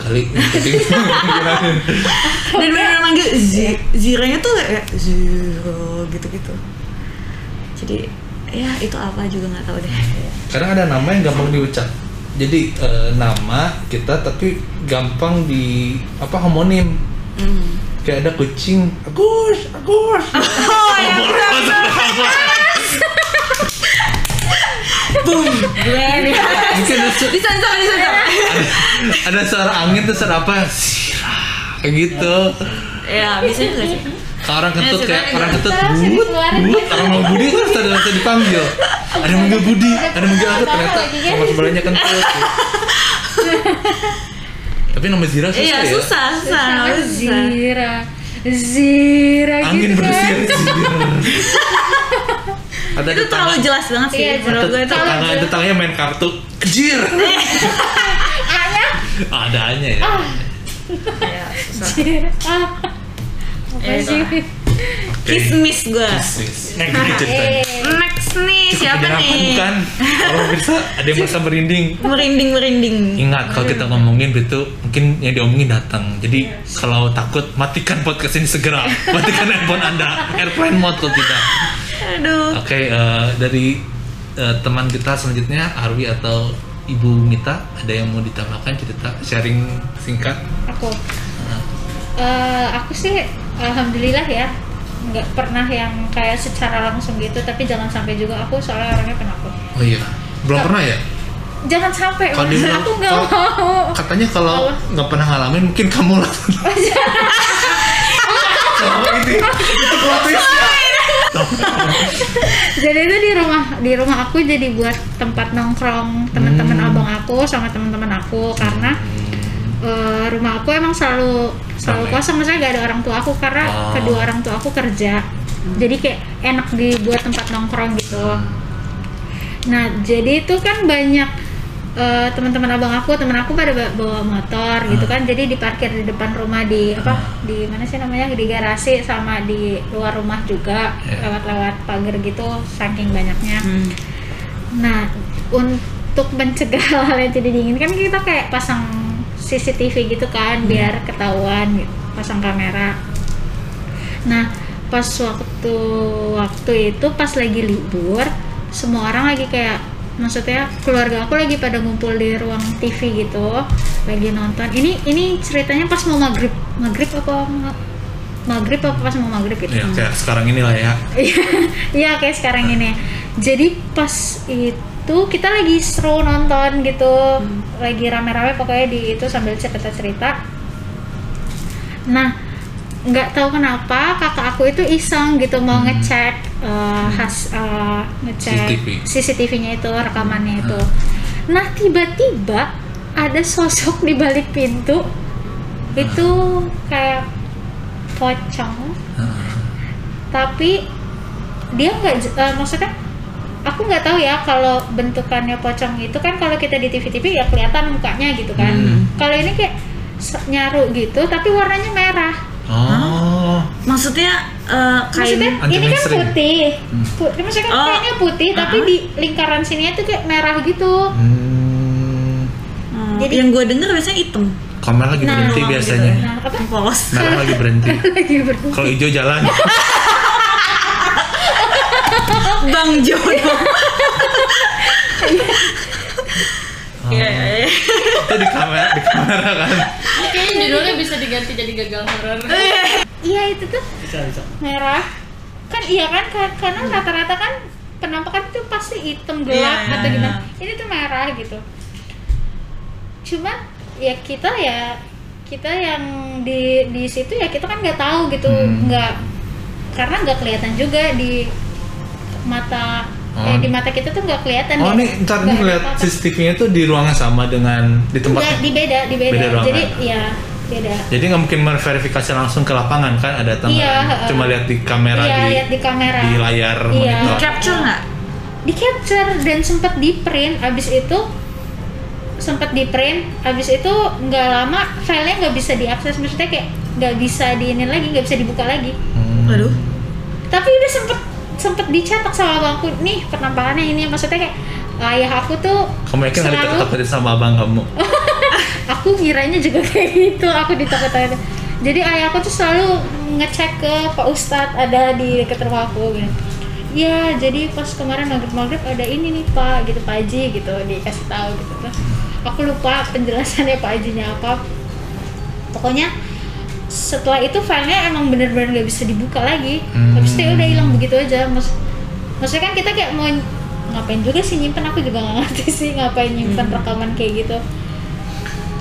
[SPEAKER 1] kali.
[SPEAKER 6] Dan bener-bener manggil Z- Ziranya tuh kayak Zero gitu-gitu. Jadi ya itu apa juga nggak tahu deh.
[SPEAKER 1] Kadang ada nama yang gampang diucap. Jadi eh, nama kita tapi gampang di apa homonim.
[SPEAKER 4] Hmm.
[SPEAKER 1] Kayak ada kucing, Agus, Agus.
[SPEAKER 6] Oh ya bisa. Boom. Iya.
[SPEAKER 1] Mungkin lucu.
[SPEAKER 6] Disensor,
[SPEAKER 4] Iya.
[SPEAKER 6] disensor.
[SPEAKER 1] ada suara angin terus suara apa Sirah, kayak gitu
[SPEAKER 6] Ya bisa juga sih.
[SPEAKER 1] Kalau orang kentut
[SPEAKER 6] Ya,
[SPEAKER 1] kayak
[SPEAKER 6] suka
[SPEAKER 1] orang
[SPEAKER 6] gitu.
[SPEAKER 1] kentut
[SPEAKER 4] Terus
[SPEAKER 1] but
[SPEAKER 4] dikeluarin
[SPEAKER 1] but orang mau budi terus ada rasa dipanggil ada yang manggil budi ada yang manggil aku
[SPEAKER 4] Ada
[SPEAKER 1] ternyata
[SPEAKER 4] lagi kan?
[SPEAKER 1] sama sebelahnya kentut gitu. tapi nama Zira susah
[SPEAKER 6] Iya
[SPEAKER 1] ya
[SPEAKER 6] susah, susah, susah.
[SPEAKER 2] Zira Zira
[SPEAKER 1] angin
[SPEAKER 2] gitu kan
[SPEAKER 1] bersih ada
[SPEAKER 6] Itu terlalu jelas banget sih.
[SPEAKER 4] Iya,
[SPEAKER 6] menurut gue itu.
[SPEAKER 1] tetangga tetangganya main kartu jir ada nya ya
[SPEAKER 6] Ah, Iya, susah.
[SPEAKER 4] Ah. apa
[SPEAKER 6] Eh,
[SPEAKER 4] sih
[SPEAKER 1] Oke.
[SPEAKER 6] Kismis gue.
[SPEAKER 1] Sis. next nih ceritanya
[SPEAKER 4] Eh,
[SPEAKER 6] Next nih Nah, eh, siapa
[SPEAKER 1] Kejadian apa
[SPEAKER 6] nih?
[SPEAKER 1] bukan? Kalau bisa ada yang merasa merinding.
[SPEAKER 6] Merinding merinding.
[SPEAKER 1] Ingat kalau kita ngomongin itu mungkin yang diomongin datang. Jadi kalau takut matikan podcast ini segera. Matikan handphone Anda. Airplane mode kalau tidak.
[SPEAKER 6] Aduh.
[SPEAKER 1] Oke, eh, dari eh, teman kita selanjutnya Arwi atau Ibu Mita ada yang mau ditambahkan cerita sharing singkat?
[SPEAKER 4] aku Eh, aku sih alhamdulillah ya nggak pernah yang kayak secara langsung gitu tapi jangan sampai juga aku soalnya orangnya penakut
[SPEAKER 1] Oh iya, belum pernah ya?
[SPEAKER 4] jangan sampai
[SPEAKER 1] Kalau
[SPEAKER 4] Mas.
[SPEAKER 1] dibilang-
[SPEAKER 4] aku nggak
[SPEAKER 1] kalau-
[SPEAKER 4] mau
[SPEAKER 6] Oh.
[SPEAKER 1] Katanya kalau nggak pernah ngalamin mungkin kamu lah. Kalau ini itu plot twist-nya.
[SPEAKER 4] jadi itu di rumah di rumah aku jadi buat tempat nongkrong teman-teman abang aku sama teman-teman aku karena eh, rumah aku emang selalu selalu
[SPEAKER 1] Ramai.
[SPEAKER 4] kosong maksudnya gak ada orang tua aku karena
[SPEAKER 1] Oh.
[SPEAKER 4] kedua orang tua aku kerja jadi kayak enak dibuat tempat nongkrong gitu nah jadi itu kan banyak eh, teman-teman abang aku teman aku pada ba- bawa motor gitu kan jadi diparkir di depan rumah di apa di mana sih namanya di garasi sama di luar rumah juga Eh,
[SPEAKER 1] Iya.
[SPEAKER 4] lewat-lewat pagar gitu saking banyaknya
[SPEAKER 6] Hmm.
[SPEAKER 4] Nah, untuk mencegah hal yang tidak diinginkan kan kita kayak pasang CCTV gitu kan biar ketahuan gitu, pasang kamera. Nah, pas waktu waktu itu pas lagi libur, semua orang lagi kayak maksudnya keluarga aku lagi pada ngumpul di ruang TV gitu, lagi nonton. Ini ini ceritanya pas mau maghrib, maghrib apa ma- maghrib apa pas mau maghrib gitu.
[SPEAKER 1] Ya, kayak sekarang inilah ya.
[SPEAKER 4] Iya kayak sekarang ini. Jadi pas itu kita lagi seru nonton gitu, lagi rame-rame pokoknya di itu sambil cerita-cerita. Nah, nggak tahu kenapa kakak aku itu iseng gitu mau ngecek eh, khas eh, ngecek
[SPEAKER 1] CCTV.
[SPEAKER 4] CCTV-nya itu rekamannya itu. Nah, tiba-tiba ada sosok di balik pintu itu kayak pocong tapi dia nggak j- eh, maksudnya aku nggak tahu ya kalau bentukannya pocong itu kan kalau kita di TV-TV ya kelihatan mukanya gitu kan
[SPEAKER 1] Hmm.
[SPEAKER 4] kalau ini kayak se- nyaru gitu tapi warnanya merah
[SPEAKER 1] Oh,
[SPEAKER 6] Maksudnya eh, kain.
[SPEAKER 4] maksudnya
[SPEAKER 1] Anti
[SPEAKER 4] ini kan
[SPEAKER 1] mainstream.
[SPEAKER 4] putih Pu- maksudnya kan
[SPEAKER 6] Oh.
[SPEAKER 4] kayaknya putih tapi
[SPEAKER 6] Ah.
[SPEAKER 4] di lingkaran sininya tuh kayak merah gitu
[SPEAKER 1] hmm,
[SPEAKER 6] Hmm,
[SPEAKER 4] Jadi-
[SPEAKER 6] yang gue denger biasanya hitam.
[SPEAKER 1] kamera lagi
[SPEAKER 4] Nah,
[SPEAKER 1] berhenti
[SPEAKER 6] Doang
[SPEAKER 1] biasanya.
[SPEAKER 6] gitu ya.
[SPEAKER 4] nah apa
[SPEAKER 6] Polos.
[SPEAKER 1] Merah lagi berhenti.
[SPEAKER 4] lagi berdua
[SPEAKER 1] Kalau hijau jalan.
[SPEAKER 6] Oh. Bang Jono. Iya, iya, iya.
[SPEAKER 1] Itu di kamera, di kamera kan.
[SPEAKER 2] Kayaknya judulnya bisa diganti jadi gagal horor.
[SPEAKER 4] iya itu tuh
[SPEAKER 7] bisa bisa
[SPEAKER 4] merah kan iya kan ka- karena rata-rata kan penampakan itu pasti hitam gelap
[SPEAKER 6] Iya.
[SPEAKER 4] atau gimana ini tuh merah gitu cuman ya kita ya kita yang di di situ ya kita kan nggak tahu gitu
[SPEAKER 1] Hmm.
[SPEAKER 4] nggak karena nggak kelihatan juga di mata eh,
[SPEAKER 1] Oh.
[SPEAKER 4] di mata kita tuh nggak kelihatan
[SPEAKER 1] Oh
[SPEAKER 4] ya.
[SPEAKER 1] nih, ntar nih
[SPEAKER 4] Nggak ada
[SPEAKER 1] lihat
[SPEAKER 4] apa-apa.
[SPEAKER 1] CCTV-nya tuh di ruangan sama dengan di tempat.
[SPEAKER 4] Nggak, di beda di beda,
[SPEAKER 1] Beda ruangan.
[SPEAKER 4] jadi ya beda
[SPEAKER 1] Jadi nggak mungkin verifikasi langsung ke lapangan kan ada tanggal.
[SPEAKER 4] Iya, heeh.
[SPEAKER 1] Cuma lihat di kamera
[SPEAKER 4] iya
[SPEAKER 1] di
[SPEAKER 4] lihat di kamera
[SPEAKER 1] di layar
[SPEAKER 4] Iya.
[SPEAKER 1] monitor.
[SPEAKER 6] Capture nggak?
[SPEAKER 4] di capture dan sempat di print abis itu sempat di print abis itu nggak lama filenya nggak bisa diakses maksudnya kayak nggak bisa diinin lagi nggak bisa dibuka lagi
[SPEAKER 1] Hmm.
[SPEAKER 6] Aduh.
[SPEAKER 4] tapi udah sempet sempet dicetak sama abangku nih penampakannya ini maksudnya kayak ayah aku tuh
[SPEAKER 1] Kamu yakin nggak
[SPEAKER 4] selalu
[SPEAKER 1] diketok-ketokin sama abang kamu?
[SPEAKER 4] aku ngiranya juga kayak gitu aku ditakut-takutin jadi ayah aku tuh selalu ngecek ke pak ustadz ada di deket rumah aku gitu ya jadi pas kemarin maghrib maghrib ada ini nih pak gitu pak Haji gitu dikasih tahu gitu terus aku lupa penjelasannya pak Hajinya apa pokoknya setelah itu filenya emang bener-bener gak bisa dibuka lagi
[SPEAKER 1] Hmm.
[SPEAKER 4] habis itu ya udah hilang begitu aja Mas maksudnya kan kita kayak mau ngapain juga sih nyimpen aku juga gak ngerti sih ngapain nyimpen rekaman kayak gitu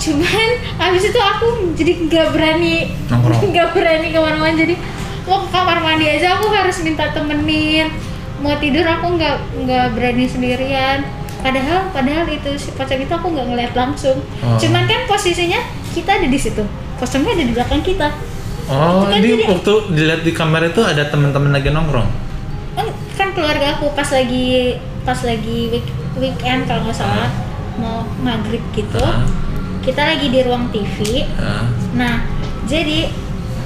[SPEAKER 4] cuman habis itu aku jadi nggak berani
[SPEAKER 1] Nongkrong.
[SPEAKER 4] nggak berani kemana-mana jadi mau ke kamar mandi aja aku harus minta temenin mau tidur aku nggak nggak berani sendirian padahal padahal itu si pocong itu aku nggak ngeliat langsung
[SPEAKER 1] Oh.
[SPEAKER 4] cuman kan posisinya kita ada di situ pocongnya ada di belakang kita
[SPEAKER 1] Oh,
[SPEAKER 4] Bukan
[SPEAKER 1] di
[SPEAKER 4] jadi-
[SPEAKER 1] waktu dilihat di kamera itu ada teman-teman lagi nongkrong.
[SPEAKER 4] kan, kan keluarga aku pas lagi pas lagi week- weekend kalau nggak salah mau maghrib gitu
[SPEAKER 1] Ah.
[SPEAKER 4] kita lagi di ruang TV
[SPEAKER 1] Ah.
[SPEAKER 4] Nah, jadi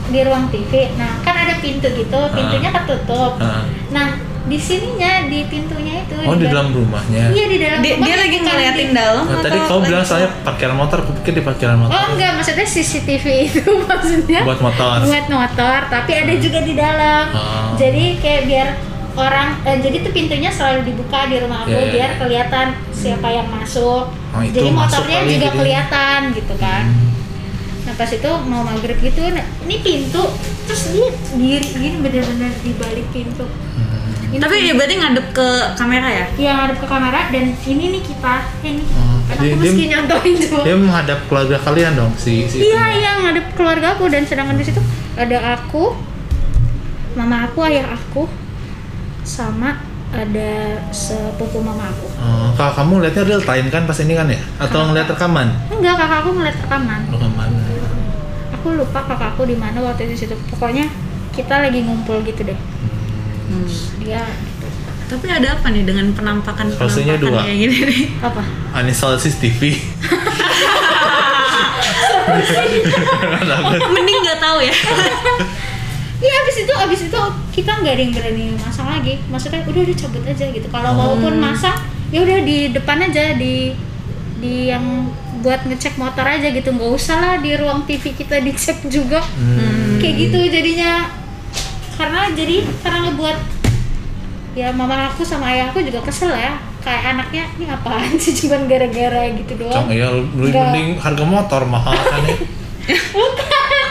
[SPEAKER 4] di ruang TV, nah kan ada pintu gitu, pintunya ketutup.
[SPEAKER 1] Ah.
[SPEAKER 4] Nah, di sininya di pintunya itu.
[SPEAKER 1] Oh, di dalam rumahnya.
[SPEAKER 4] Iya di dalam.
[SPEAKER 6] Dia,
[SPEAKER 4] rumah
[SPEAKER 6] dia
[SPEAKER 4] itu
[SPEAKER 6] lagi
[SPEAKER 4] kan
[SPEAKER 6] ngeliatin
[SPEAKER 4] di-
[SPEAKER 6] dalam
[SPEAKER 1] Nah,
[SPEAKER 6] atau
[SPEAKER 1] tadi kau
[SPEAKER 6] lagi-
[SPEAKER 1] bilang soalnya parkiran motor, aku pikir di parkiran motor.
[SPEAKER 4] Oh enggak, maksudnya CCTV itu maksudnya
[SPEAKER 1] Buat motor.
[SPEAKER 4] buat motor, tapi ada juga di dalam.
[SPEAKER 1] Ah.
[SPEAKER 4] Jadi kayak biar orang eh, jadi tuh pintunya selalu dibuka di rumah aku
[SPEAKER 1] Iya, iya,
[SPEAKER 4] biar
[SPEAKER 1] iya.
[SPEAKER 4] kelihatan siapa yang masuk.
[SPEAKER 1] Oh, itu
[SPEAKER 4] jadi
[SPEAKER 1] masuk
[SPEAKER 4] motornya
[SPEAKER 1] kali ya? Hmm.
[SPEAKER 4] juga
[SPEAKER 1] jadi.
[SPEAKER 4] kelihatan gitu kan. Nah pas itu mau maghrib gitu, nah, ini pintu terus dia diri gini bener-bener di balik pintu.
[SPEAKER 1] Hmm.
[SPEAKER 4] Ini
[SPEAKER 6] Tapi ya berarti ngadep ke kamera ya?
[SPEAKER 4] yang ngadep ke kamera dan ini nih kita, ini
[SPEAKER 1] Oh,
[SPEAKER 4] kan
[SPEAKER 1] jadi
[SPEAKER 4] aku
[SPEAKER 1] dia-
[SPEAKER 4] meski nyontohin cuma.
[SPEAKER 1] Dia Ya, menghadap keluarga kalian dong si si.
[SPEAKER 4] Iya, iya ngadep keluarga aku dan sedangkan di situ ada aku, mama aku, ayah aku, sama ada sepupu mama aku.
[SPEAKER 1] Oh, kalau kamu lihatnya real time kan pas ini kan ya? Atau ngeliat rekaman?
[SPEAKER 4] Enggak, kakak aku ngeliat rekaman.
[SPEAKER 1] Rekaman.
[SPEAKER 4] Aku lupa kakak aku di mana waktu itu di situ. Pokoknya kita lagi ngumpul gitu deh.
[SPEAKER 6] Hmm.
[SPEAKER 4] Dia
[SPEAKER 6] Tapi ada apa nih dengan penampakan
[SPEAKER 1] Solusinya dua.
[SPEAKER 6] penampakan kayak gini nih?
[SPEAKER 4] apa?
[SPEAKER 1] Anisolesis TV.
[SPEAKER 6] Mending nggak tahu ya.
[SPEAKER 4] Iya abis itu abis itu kita nggak ada yang berani masang lagi. Maksudnya udah udah cabut aja gitu. Kalau
[SPEAKER 1] Oh.
[SPEAKER 4] walaupun masang ya udah di depan aja di di yang buat ngecek motor aja gitu nggak usah lah di ruang TV kita dicek juga
[SPEAKER 1] Hmm,
[SPEAKER 4] kayak gitu jadinya karena jadi karena ngebuat ya mama aku sama ayah aku juga kesel ya kayak anaknya ini apaan sih cuman gara-gara gitu
[SPEAKER 1] Cong,
[SPEAKER 4] doang
[SPEAKER 1] iya, lu
[SPEAKER 4] Enggak.
[SPEAKER 1] mending harga motor mahal kan ya? Bukan.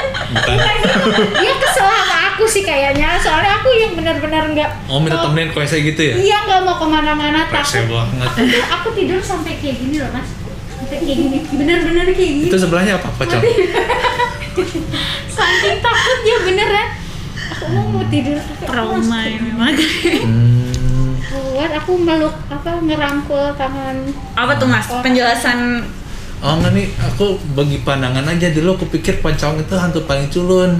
[SPEAKER 4] dia kesel sama aku sih kayaknya soalnya aku yang benar-benar nggak
[SPEAKER 1] Oh, minta
[SPEAKER 4] mau-
[SPEAKER 1] temenin kau saya gitu ya?
[SPEAKER 4] Iya nggak mau kemana-mana
[SPEAKER 1] Rese
[SPEAKER 4] takut.
[SPEAKER 1] banget.
[SPEAKER 4] Aduh, aku tidur sampai kayak gini loh mas, sampai kayak gini, bener-bener kayak gini.
[SPEAKER 1] Itu sebelahnya apa, Pocong?
[SPEAKER 4] Saking takutnya beneran. Aku mau mau tidur tapi aku harus
[SPEAKER 6] Trauma
[SPEAKER 4] kayak
[SPEAKER 6] ini banget.
[SPEAKER 1] Hmm.
[SPEAKER 4] keluar. Aku meluk apa ngerangkul tangan.
[SPEAKER 6] Apa tuh mas? Penjelasan
[SPEAKER 1] Oh enggak nih, aku bagi pandangan aja dulu aku pikir pocong itu hantu paling culun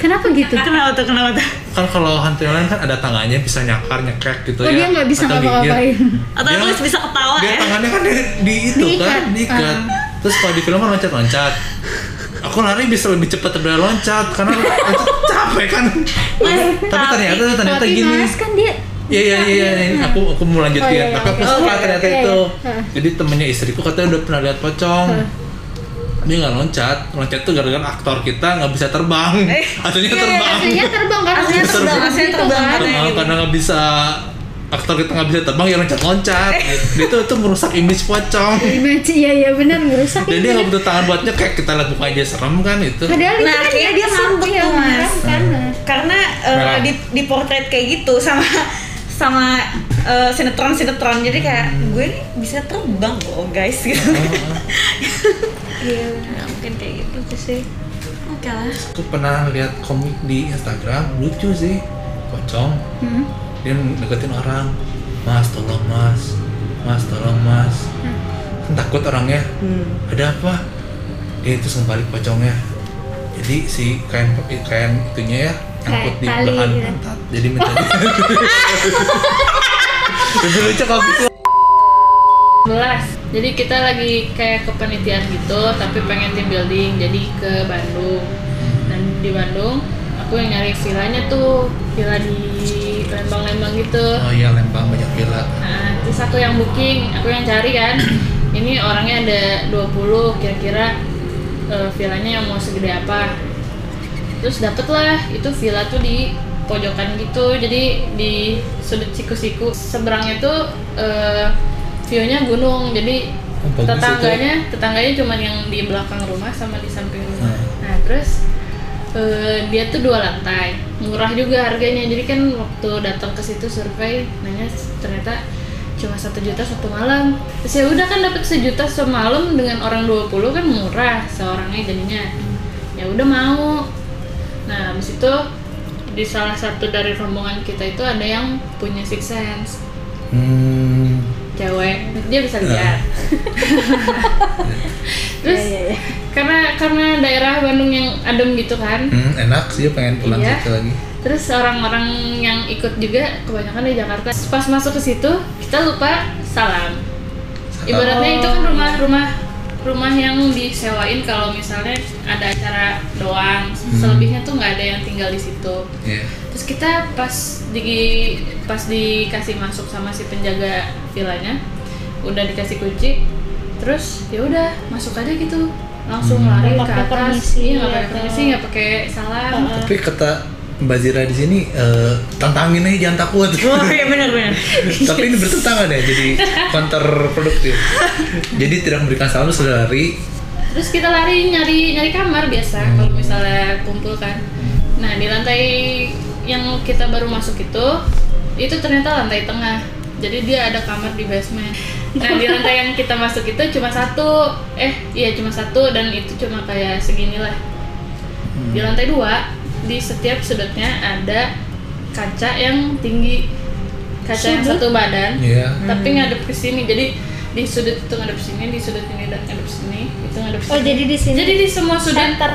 [SPEAKER 4] Kenapa gitu?
[SPEAKER 6] kenapa tuh kenapa tuh?
[SPEAKER 1] Kan kalau hantu yang lain kan ada tangannya bisa nyakar, nyekek gitu
[SPEAKER 4] Oh,
[SPEAKER 1] ya
[SPEAKER 4] dia nggak bisa
[SPEAKER 1] atau
[SPEAKER 4] ngapa-ngapain.
[SPEAKER 1] gigit.
[SPEAKER 6] Atau
[SPEAKER 1] Dia-
[SPEAKER 6] aku harus bisa ketawa
[SPEAKER 1] Dia
[SPEAKER 6] ya?
[SPEAKER 1] tangannya kan di, di itu kan,
[SPEAKER 4] Diikat. Ah.
[SPEAKER 1] diikat Terus kalau di film kan loncat-loncat Aku lari bisa lebih cepat daripada loncat karena loncat capek kan
[SPEAKER 6] Mas,
[SPEAKER 1] Tapi ternyata, ternyata
[SPEAKER 4] Tapi
[SPEAKER 1] gini
[SPEAKER 4] mas kan dia
[SPEAKER 1] Iya iya iya, iya. aku aku mau lanjutin.
[SPEAKER 4] Oh, iya, iya.
[SPEAKER 1] Tapi aku
[SPEAKER 4] Oh,
[SPEAKER 1] suka
[SPEAKER 4] iya,
[SPEAKER 1] ternyata
[SPEAKER 4] iya,
[SPEAKER 1] itu.
[SPEAKER 4] iya. Ah. Hah.
[SPEAKER 1] Jadi temennya istriku katanya udah pernah lihat pocong.
[SPEAKER 4] Hah.
[SPEAKER 1] Dia nggak loncat, loncat tuh gara-gara aktor kita nggak bisa terbang.
[SPEAKER 4] Eh, iya,
[SPEAKER 1] Aslinya terbang.
[SPEAKER 4] aslinya terbang kan?
[SPEAKER 1] kan?
[SPEAKER 6] Aslinya terbang, aslinya terbang.
[SPEAKER 1] Terbang karena nggak bisa aktor kita nggak bisa terbang ya loncat-loncat dia tuh Nah, itu merusak image pocong
[SPEAKER 4] Image, iya iya benar ngerusak
[SPEAKER 1] dan dia nggak butuh tangan buatnya kayak kita lihat mukanya aja serem kan itu
[SPEAKER 4] Padahal itu
[SPEAKER 6] Nah,
[SPEAKER 4] kan
[SPEAKER 6] kayaknya dia sambet
[SPEAKER 4] iya,
[SPEAKER 6] tuh, Mas.
[SPEAKER 4] beneran kan. Nah,
[SPEAKER 6] karena eh,
[SPEAKER 1] Merah.
[SPEAKER 6] di di portrait kayak gitu sama sama eh, sinetron-sinetron jadi kayak
[SPEAKER 1] Hmm.
[SPEAKER 6] gue nih bisa terbang loh guys
[SPEAKER 1] Oh.
[SPEAKER 6] gitu.
[SPEAKER 1] Ah.
[SPEAKER 4] Iya.
[SPEAKER 6] Nah, mungkin kayak gitu.
[SPEAKER 4] Itu sih.
[SPEAKER 6] Oke lah.
[SPEAKER 1] aku pernah lihat komik di Instagram lucu sih pocong
[SPEAKER 4] Hmm.
[SPEAKER 1] dia deketin orang mas tolong mas mas tolong mas takut orangnya
[SPEAKER 6] Hmm.
[SPEAKER 1] ada apa dia itu balik pocongnya jadi si kain kain itunya ya angkut
[SPEAKER 4] Kayak
[SPEAKER 1] di
[SPEAKER 4] tali,
[SPEAKER 1] bahan
[SPEAKER 4] ya.
[SPEAKER 1] pantat jadi minta lebih lucu kalau gitu
[SPEAKER 2] 11. Jadi kita lagi kayak kepenitiaan gitu, tapi pengen team building, jadi ke Bandung. Dan di Bandung, aku yang nyari villanya tuh, villa di Lembang-Lembang gitu.
[SPEAKER 1] oh iya lembang banyak villa
[SPEAKER 2] Nah, terus aku yang booking, aku yang cari kan. Ini orangnya ada 20 kira-kira eh, villanya yang mau segede apa. Terus dapet lah, itu villa tuh di pojokan gitu, jadi di sudut siku-siku. Seberangnya tuh eh, view-nya gunung, jadi
[SPEAKER 1] Oh, bagus
[SPEAKER 2] tetangganya tetangganya cuman yang di belakang rumah sama di samping rumah.
[SPEAKER 1] Hmm.
[SPEAKER 2] Nah, terus eh, dia tuh dua lantai, murah juga harganya. Jadi kan waktu datang ke situ survei, nanya ternyata cuma satu juta satu malam. Terus ya udah kan dapat sejuta semalam dengan orang 20 kan murah seorangnya jadinya. Ya udah mau. Nah, habis itu di salah satu dari rombongan kita itu ada yang punya six sense
[SPEAKER 1] hmm
[SPEAKER 2] cewek dia bisa lihat terus
[SPEAKER 6] Iya, iya, iya.
[SPEAKER 2] karena karena daerah Bandung yang adem gitu kan
[SPEAKER 1] hmm, enak sih pengen pulang
[SPEAKER 2] Iya.
[SPEAKER 1] situ lagi
[SPEAKER 2] terus orang-orang yang ikut juga kebanyakan dari Jakarta pas masuk ke situ kita lupa salam
[SPEAKER 1] Salam.
[SPEAKER 2] ibaratnya itu kan
[SPEAKER 6] Oh.
[SPEAKER 2] rumah rumah rumah yang disewain kalau misalnya ada acara doang selebihnya tuh nggak ada yang tinggal di situ
[SPEAKER 1] Iya.
[SPEAKER 2] terus kita pas di pas dikasih masuk sama si penjaga villanya udah dikasih kunci terus ya udah masuk aja gitu langsung lari
[SPEAKER 4] Hmm. Nggak
[SPEAKER 2] ke
[SPEAKER 4] pakai
[SPEAKER 2] atas
[SPEAKER 4] permisi kan?
[SPEAKER 2] iya nggak pakai
[SPEAKER 4] atau-
[SPEAKER 2] permisi nggak pakai salam
[SPEAKER 1] tapi kata Mbak Zira di sini eh, tantangin aja jangan takut
[SPEAKER 6] Oh iya benar-benar.
[SPEAKER 1] tapi ini bertentangan ya jadi counterproduktif jadi tidak memberikan salam sudah lari
[SPEAKER 2] terus kita lari nyari nyari kamar biasa kalau misalnya kumpul kan nah di lantai yang kita baru masuk itu itu ternyata lantai tengah jadi dia ada kamar di basement nah di lantai yang kita masuk itu cuma satu eh iya cuma satu dan itu cuma kayak seginilah di lantai dua di setiap sudutnya ada kaca yang tinggi kaca yang
[SPEAKER 4] Sudut?
[SPEAKER 2] satu badan
[SPEAKER 1] Iya.
[SPEAKER 2] tapi ngadep ke sini jadi di sudut itu ngadep sini di sudut ini dan ngadep sini itu ngadep sini
[SPEAKER 4] Oh, jadi di sini.
[SPEAKER 2] jadi di semua sudut
[SPEAKER 4] Center.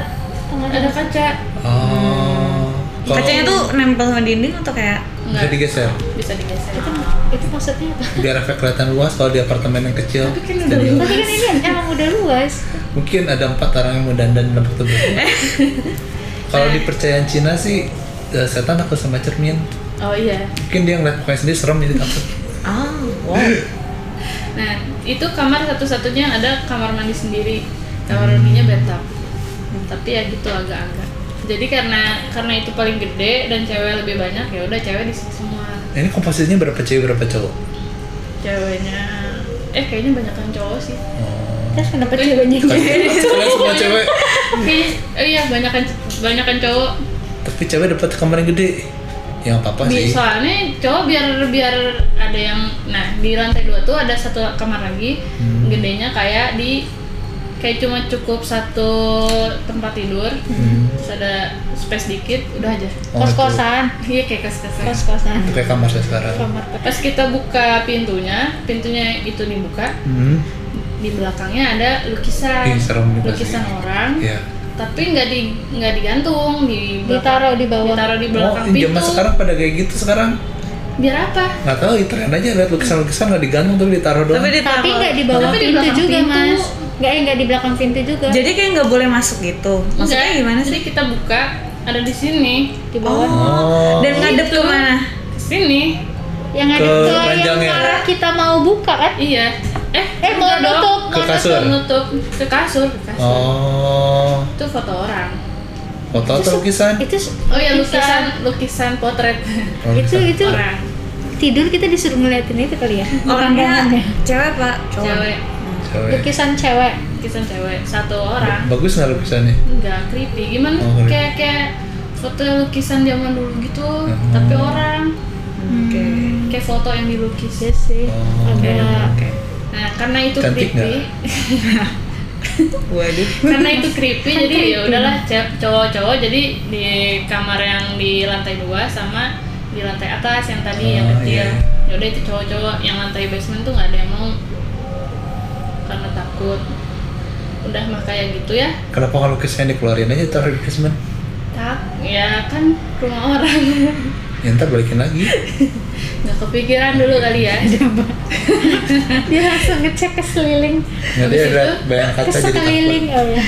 [SPEAKER 4] Tengah
[SPEAKER 2] ada kaca
[SPEAKER 1] oh Kalau-
[SPEAKER 6] Kacanya tuh nempel sama dinding atau kayak
[SPEAKER 1] bisa
[SPEAKER 2] nggak
[SPEAKER 1] digeser
[SPEAKER 2] bisa digeser
[SPEAKER 4] Itu, itu maksudnya apa?
[SPEAKER 1] biar efek kelihatan luas kalau di apartemen yang kecil
[SPEAKER 2] Tapi kan udah
[SPEAKER 1] jadi-
[SPEAKER 4] Tapi kan ini emang udah luas.
[SPEAKER 1] mungkin ada empat orang yang mau dandan dalam satu bulan. kalau di percayaan Cina sih eh, setan takut sama cermin
[SPEAKER 2] oh iya
[SPEAKER 1] mungkin dia ngeliat mukanya sendiri serem jadi takut
[SPEAKER 6] ah wow.
[SPEAKER 2] nah itu kamar satu-satunya yang ada kamar mandi sendiri kamar
[SPEAKER 1] Hmm.
[SPEAKER 2] mandinya bathtub tapi ya gitu agak-agak jadi karena karena itu paling gede dan cewek lebih banyak ya udah cewek di situ semua
[SPEAKER 1] Nah, ini komposisinya berapa cewek berapa cowok
[SPEAKER 2] ceweknya eh kayaknya banyak cowok sih
[SPEAKER 4] Terus kenapa ceweknya
[SPEAKER 1] Oh, Kalian kalian semua cewek
[SPEAKER 2] Kayaknya- oh iya banyakan banyakan cowok
[SPEAKER 1] tapi cewek dapat kamar yang gede yang apa apa sih
[SPEAKER 2] Bi- soalnya cowok biar biar ada yang nah di lantai dua tuh ada satu kamar lagi
[SPEAKER 1] Hmm.
[SPEAKER 2] gedenya kayak di kayak cuma cukup satu tempat tidur terus ada space dikit udah aja
[SPEAKER 1] Hmm. Oh,
[SPEAKER 4] Kos-kosan.
[SPEAKER 2] iya kayak kas kasan
[SPEAKER 4] Kos-kosan.
[SPEAKER 1] itu kayak kamar saya sekarang
[SPEAKER 4] Kamar
[SPEAKER 2] pas kita buka pintunya pintunya itu dibuka
[SPEAKER 1] hmm.
[SPEAKER 2] di belakangnya ada
[SPEAKER 1] Ih,
[SPEAKER 2] lukisan
[SPEAKER 1] serem juga sih.
[SPEAKER 2] lukisan orang
[SPEAKER 1] ya
[SPEAKER 2] tapi nggak di nggak digantung di
[SPEAKER 4] Ditaruh di bawah.
[SPEAKER 2] ditaruh di
[SPEAKER 1] oh
[SPEAKER 2] belakang pintu
[SPEAKER 1] zaman sekarang pada kayak gitu sekarang
[SPEAKER 2] biar apa
[SPEAKER 1] nggak tahu ya tren aja lihat lukisan-lukisan nggak digantung tapi ditaruh doang
[SPEAKER 6] Tapi ditaruh.
[SPEAKER 4] Tapi nggak di bawah
[SPEAKER 2] Tapi di
[SPEAKER 4] pintu
[SPEAKER 2] belakang
[SPEAKER 4] juga,
[SPEAKER 2] pintu.
[SPEAKER 4] Mas. Nggak, eh, nggak di belakang pintu juga.
[SPEAKER 6] Jadi kayak nggak boleh masuk gitu. Maksudnya
[SPEAKER 2] Enggak,
[SPEAKER 6] gimana sih?
[SPEAKER 2] Jadi kita buka ada di sini, di bawah.
[SPEAKER 1] oh
[SPEAKER 6] Dan ngadep
[SPEAKER 2] Gitu.
[SPEAKER 6] kemana?
[SPEAKER 2] Sini.
[SPEAKER 4] yang ada
[SPEAKER 1] Ke ya?
[SPEAKER 4] ke yang
[SPEAKER 1] ranjangnya.
[SPEAKER 4] arah kita mau buka kan?
[SPEAKER 2] Iya. Eh,
[SPEAKER 4] Eh, mau
[SPEAKER 2] enggak dong.
[SPEAKER 4] nutup.
[SPEAKER 1] Ke
[SPEAKER 4] mau
[SPEAKER 1] kasur.
[SPEAKER 2] Mau nutup ke kasur, ke kasur.
[SPEAKER 1] oh
[SPEAKER 2] Itu foto orang.
[SPEAKER 1] foto atau lukisan
[SPEAKER 4] Itu s- iya,
[SPEAKER 2] iya, Oh ya lukisan lukisan potret
[SPEAKER 1] Oh,
[SPEAKER 4] Itu
[SPEAKER 1] lukisan.
[SPEAKER 4] itu
[SPEAKER 2] orang.
[SPEAKER 4] tidur kita disuruh ngeliatin itu kali ya
[SPEAKER 6] Oh, Orangnya
[SPEAKER 4] Pemandangannya.
[SPEAKER 6] cewek pak
[SPEAKER 2] cewek
[SPEAKER 1] Cewek.
[SPEAKER 4] lukisan cewek
[SPEAKER 2] lukisan cewek satu orang
[SPEAKER 1] Bagus nggak lukisannya?
[SPEAKER 2] enggak creepy gimana
[SPEAKER 1] Oh, creepy.
[SPEAKER 2] kayak kayak foto lukisan zaman dulu gitu tapi orang
[SPEAKER 6] Oke.
[SPEAKER 2] kayak foto yang dilukis
[SPEAKER 4] Iya sih
[SPEAKER 1] Oh.
[SPEAKER 6] Oke.
[SPEAKER 4] ada
[SPEAKER 6] Oke.
[SPEAKER 2] nah karena itu
[SPEAKER 1] Cantik
[SPEAKER 2] creepy
[SPEAKER 6] Waduh.
[SPEAKER 2] karena itu creepy
[SPEAKER 4] Kan
[SPEAKER 2] jadi
[SPEAKER 4] creepy.
[SPEAKER 2] ya udahlah ce- cowok-cowok jadi di kamar yang di lantai dua sama di lantai atas yang tadi yang
[SPEAKER 1] Oh,
[SPEAKER 2] kecil
[SPEAKER 1] iya.
[SPEAKER 2] ya udah itu cowok-cowok yang lantai basement tuh nggak ada yang mau karena takut udah mah kayak gitu ya
[SPEAKER 1] Kenapa nggak lukisannya dikeluarin aja taruh di basement?
[SPEAKER 2] tak ya kan rumah orang
[SPEAKER 1] Ya ntar balikin lagi.
[SPEAKER 2] nggak kepikiran dulu kali ya
[SPEAKER 4] dia langsung ngecek ke seliling
[SPEAKER 1] Nggak dia
[SPEAKER 2] Habis
[SPEAKER 1] ada
[SPEAKER 2] itu,
[SPEAKER 1] bayang
[SPEAKER 4] ke
[SPEAKER 1] kaca jadi takut.
[SPEAKER 4] sekeliling oh ya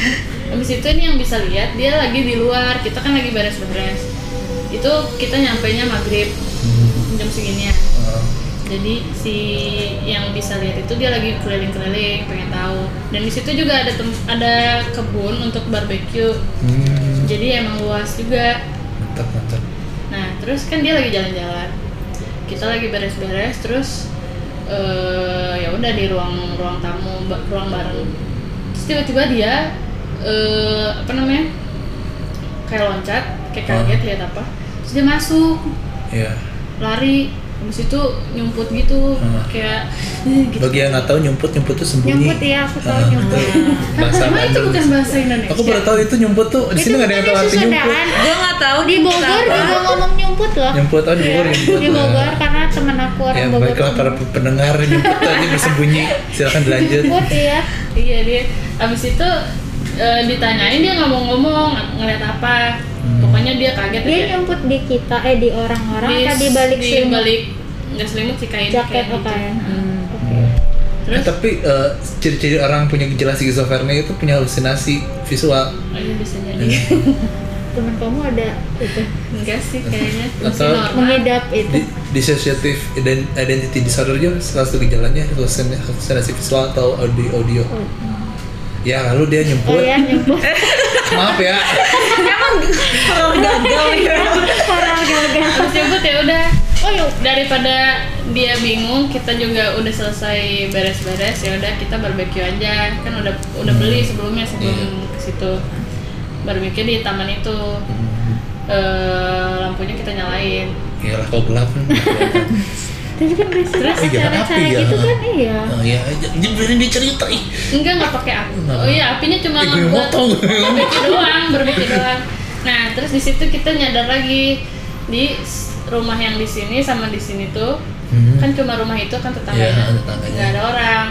[SPEAKER 2] habis itu ini yang bisa lihat dia lagi di luar kita kan lagi beres-beres itu kita nyampainya maghrib jam ya. seginian
[SPEAKER 1] Hmm. Oh.
[SPEAKER 2] jadi si yang bisa lihat itu dia lagi keliling-keliling pengen tahu dan di situ juga ada tem- ada kebun untuk barbeque
[SPEAKER 1] Hmm,
[SPEAKER 2] jadi emang luas juga
[SPEAKER 1] mantap mantap.
[SPEAKER 2] nah terus kan dia lagi jalan-jalan kita lagi beres-beres terus eh, ya udah di ruang ruang tamu ba- ruang bareng terus tiba-tiba dia eh, apa namanya kayak loncat kayak kaget lihat apa terus dia masuk
[SPEAKER 1] Iya.
[SPEAKER 2] lari habis itu nyumput gitu
[SPEAKER 1] Hmm.
[SPEAKER 2] kayak gitu.
[SPEAKER 1] Bagi yang nggak tahu nyumput nyumput tuh sembunyi.
[SPEAKER 4] nyumput ya aku tahu
[SPEAKER 1] Ah,
[SPEAKER 4] nyumput
[SPEAKER 1] Bahasa
[SPEAKER 2] Emang itu
[SPEAKER 1] Bandung.
[SPEAKER 2] bukan bahasa Indonesia.
[SPEAKER 1] Aku baru tahu itu nyumput tuh Oh, di
[SPEAKER 4] itu ya,
[SPEAKER 1] sini nggak ada yang
[SPEAKER 4] bukannya
[SPEAKER 1] tahu arti nyumput.
[SPEAKER 4] susudaan
[SPEAKER 6] Gue nggak tahu
[SPEAKER 4] Oh, di Bogor
[SPEAKER 6] kenapa.
[SPEAKER 4] juga ngomong nyumput loh
[SPEAKER 1] Nyumput oh di Bogor nyumput.
[SPEAKER 4] Iya, di Bogor karena temen aku
[SPEAKER 1] Ya
[SPEAKER 4] orang Bogor
[SPEAKER 1] baiklah para pendengar nyumput aja bersembunyi. Silakan dilanjut.
[SPEAKER 4] nyumput ya
[SPEAKER 2] Iya dia. Abis itu eh, ditanyain dia ngomong-ngomong ngeliat apa.
[SPEAKER 1] Hmm.
[SPEAKER 2] Pokoknya dia kaget
[SPEAKER 4] dia
[SPEAKER 2] aja.
[SPEAKER 4] nyumput di kita eh di orang-orang atau di balik
[SPEAKER 2] Ya, di
[SPEAKER 4] selimut
[SPEAKER 2] balik nggak selimut sih kain
[SPEAKER 4] jaket ya?
[SPEAKER 2] kain gitu.
[SPEAKER 4] pakaian
[SPEAKER 6] Hmm.
[SPEAKER 1] Eh,
[SPEAKER 2] Terus
[SPEAKER 1] tapi eh, ciri-ciri orang punya gejala skizofrenia itu punya halusinasi visual Ya.
[SPEAKER 2] oh, iya bisa jadi.
[SPEAKER 4] temen kamu ada itu
[SPEAKER 2] Enggak sih kayaknya. Masih
[SPEAKER 1] Atau-
[SPEAKER 2] normal.
[SPEAKER 4] mengidap itu
[SPEAKER 1] Di- dissociative ident- identity disorder juga salah satu gejalanya halusin- halusinasi visual atau audio audio ya lalu dia
[SPEAKER 4] oh
[SPEAKER 1] nyemput
[SPEAKER 4] ya nyumput
[SPEAKER 1] maaf ya
[SPEAKER 6] Horor gagal ya.
[SPEAKER 4] orang gagal
[SPEAKER 2] Terus nyebut ya udah
[SPEAKER 4] oh yuk
[SPEAKER 2] daripada dia bingung kita juga udah selesai beres-beres ya udah kita barbeque aja kan udah udah
[SPEAKER 1] Hmm.
[SPEAKER 2] beli sebelumnya sebelum
[SPEAKER 1] Iya.
[SPEAKER 2] ke situ barbeque di taman itu Eh, lampunya kita nyalain
[SPEAKER 1] ya lah kalau gelap kan
[SPEAKER 4] Tapi kan biasanya
[SPEAKER 1] Iya,
[SPEAKER 4] acara-acara
[SPEAKER 1] api ya.
[SPEAKER 4] gitu kan iya.
[SPEAKER 1] oh, ya j- jeberin dia cerita ih
[SPEAKER 2] enggak nggak pakai api
[SPEAKER 1] Kenapa?
[SPEAKER 2] oh iya apinya cuma
[SPEAKER 1] Eh, gue
[SPEAKER 2] buat
[SPEAKER 1] motong
[SPEAKER 2] barbeque doang barbeque doang nah terus di situ kita nyadar lagi di s- rumah yang di sini sama di sini tuh
[SPEAKER 1] Hmm.
[SPEAKER 2] kan cuma rumah itu kan tetangganya
[SPEAKER 1] Iya, tetangganya.
[SPEAKER 2] nggak ada orang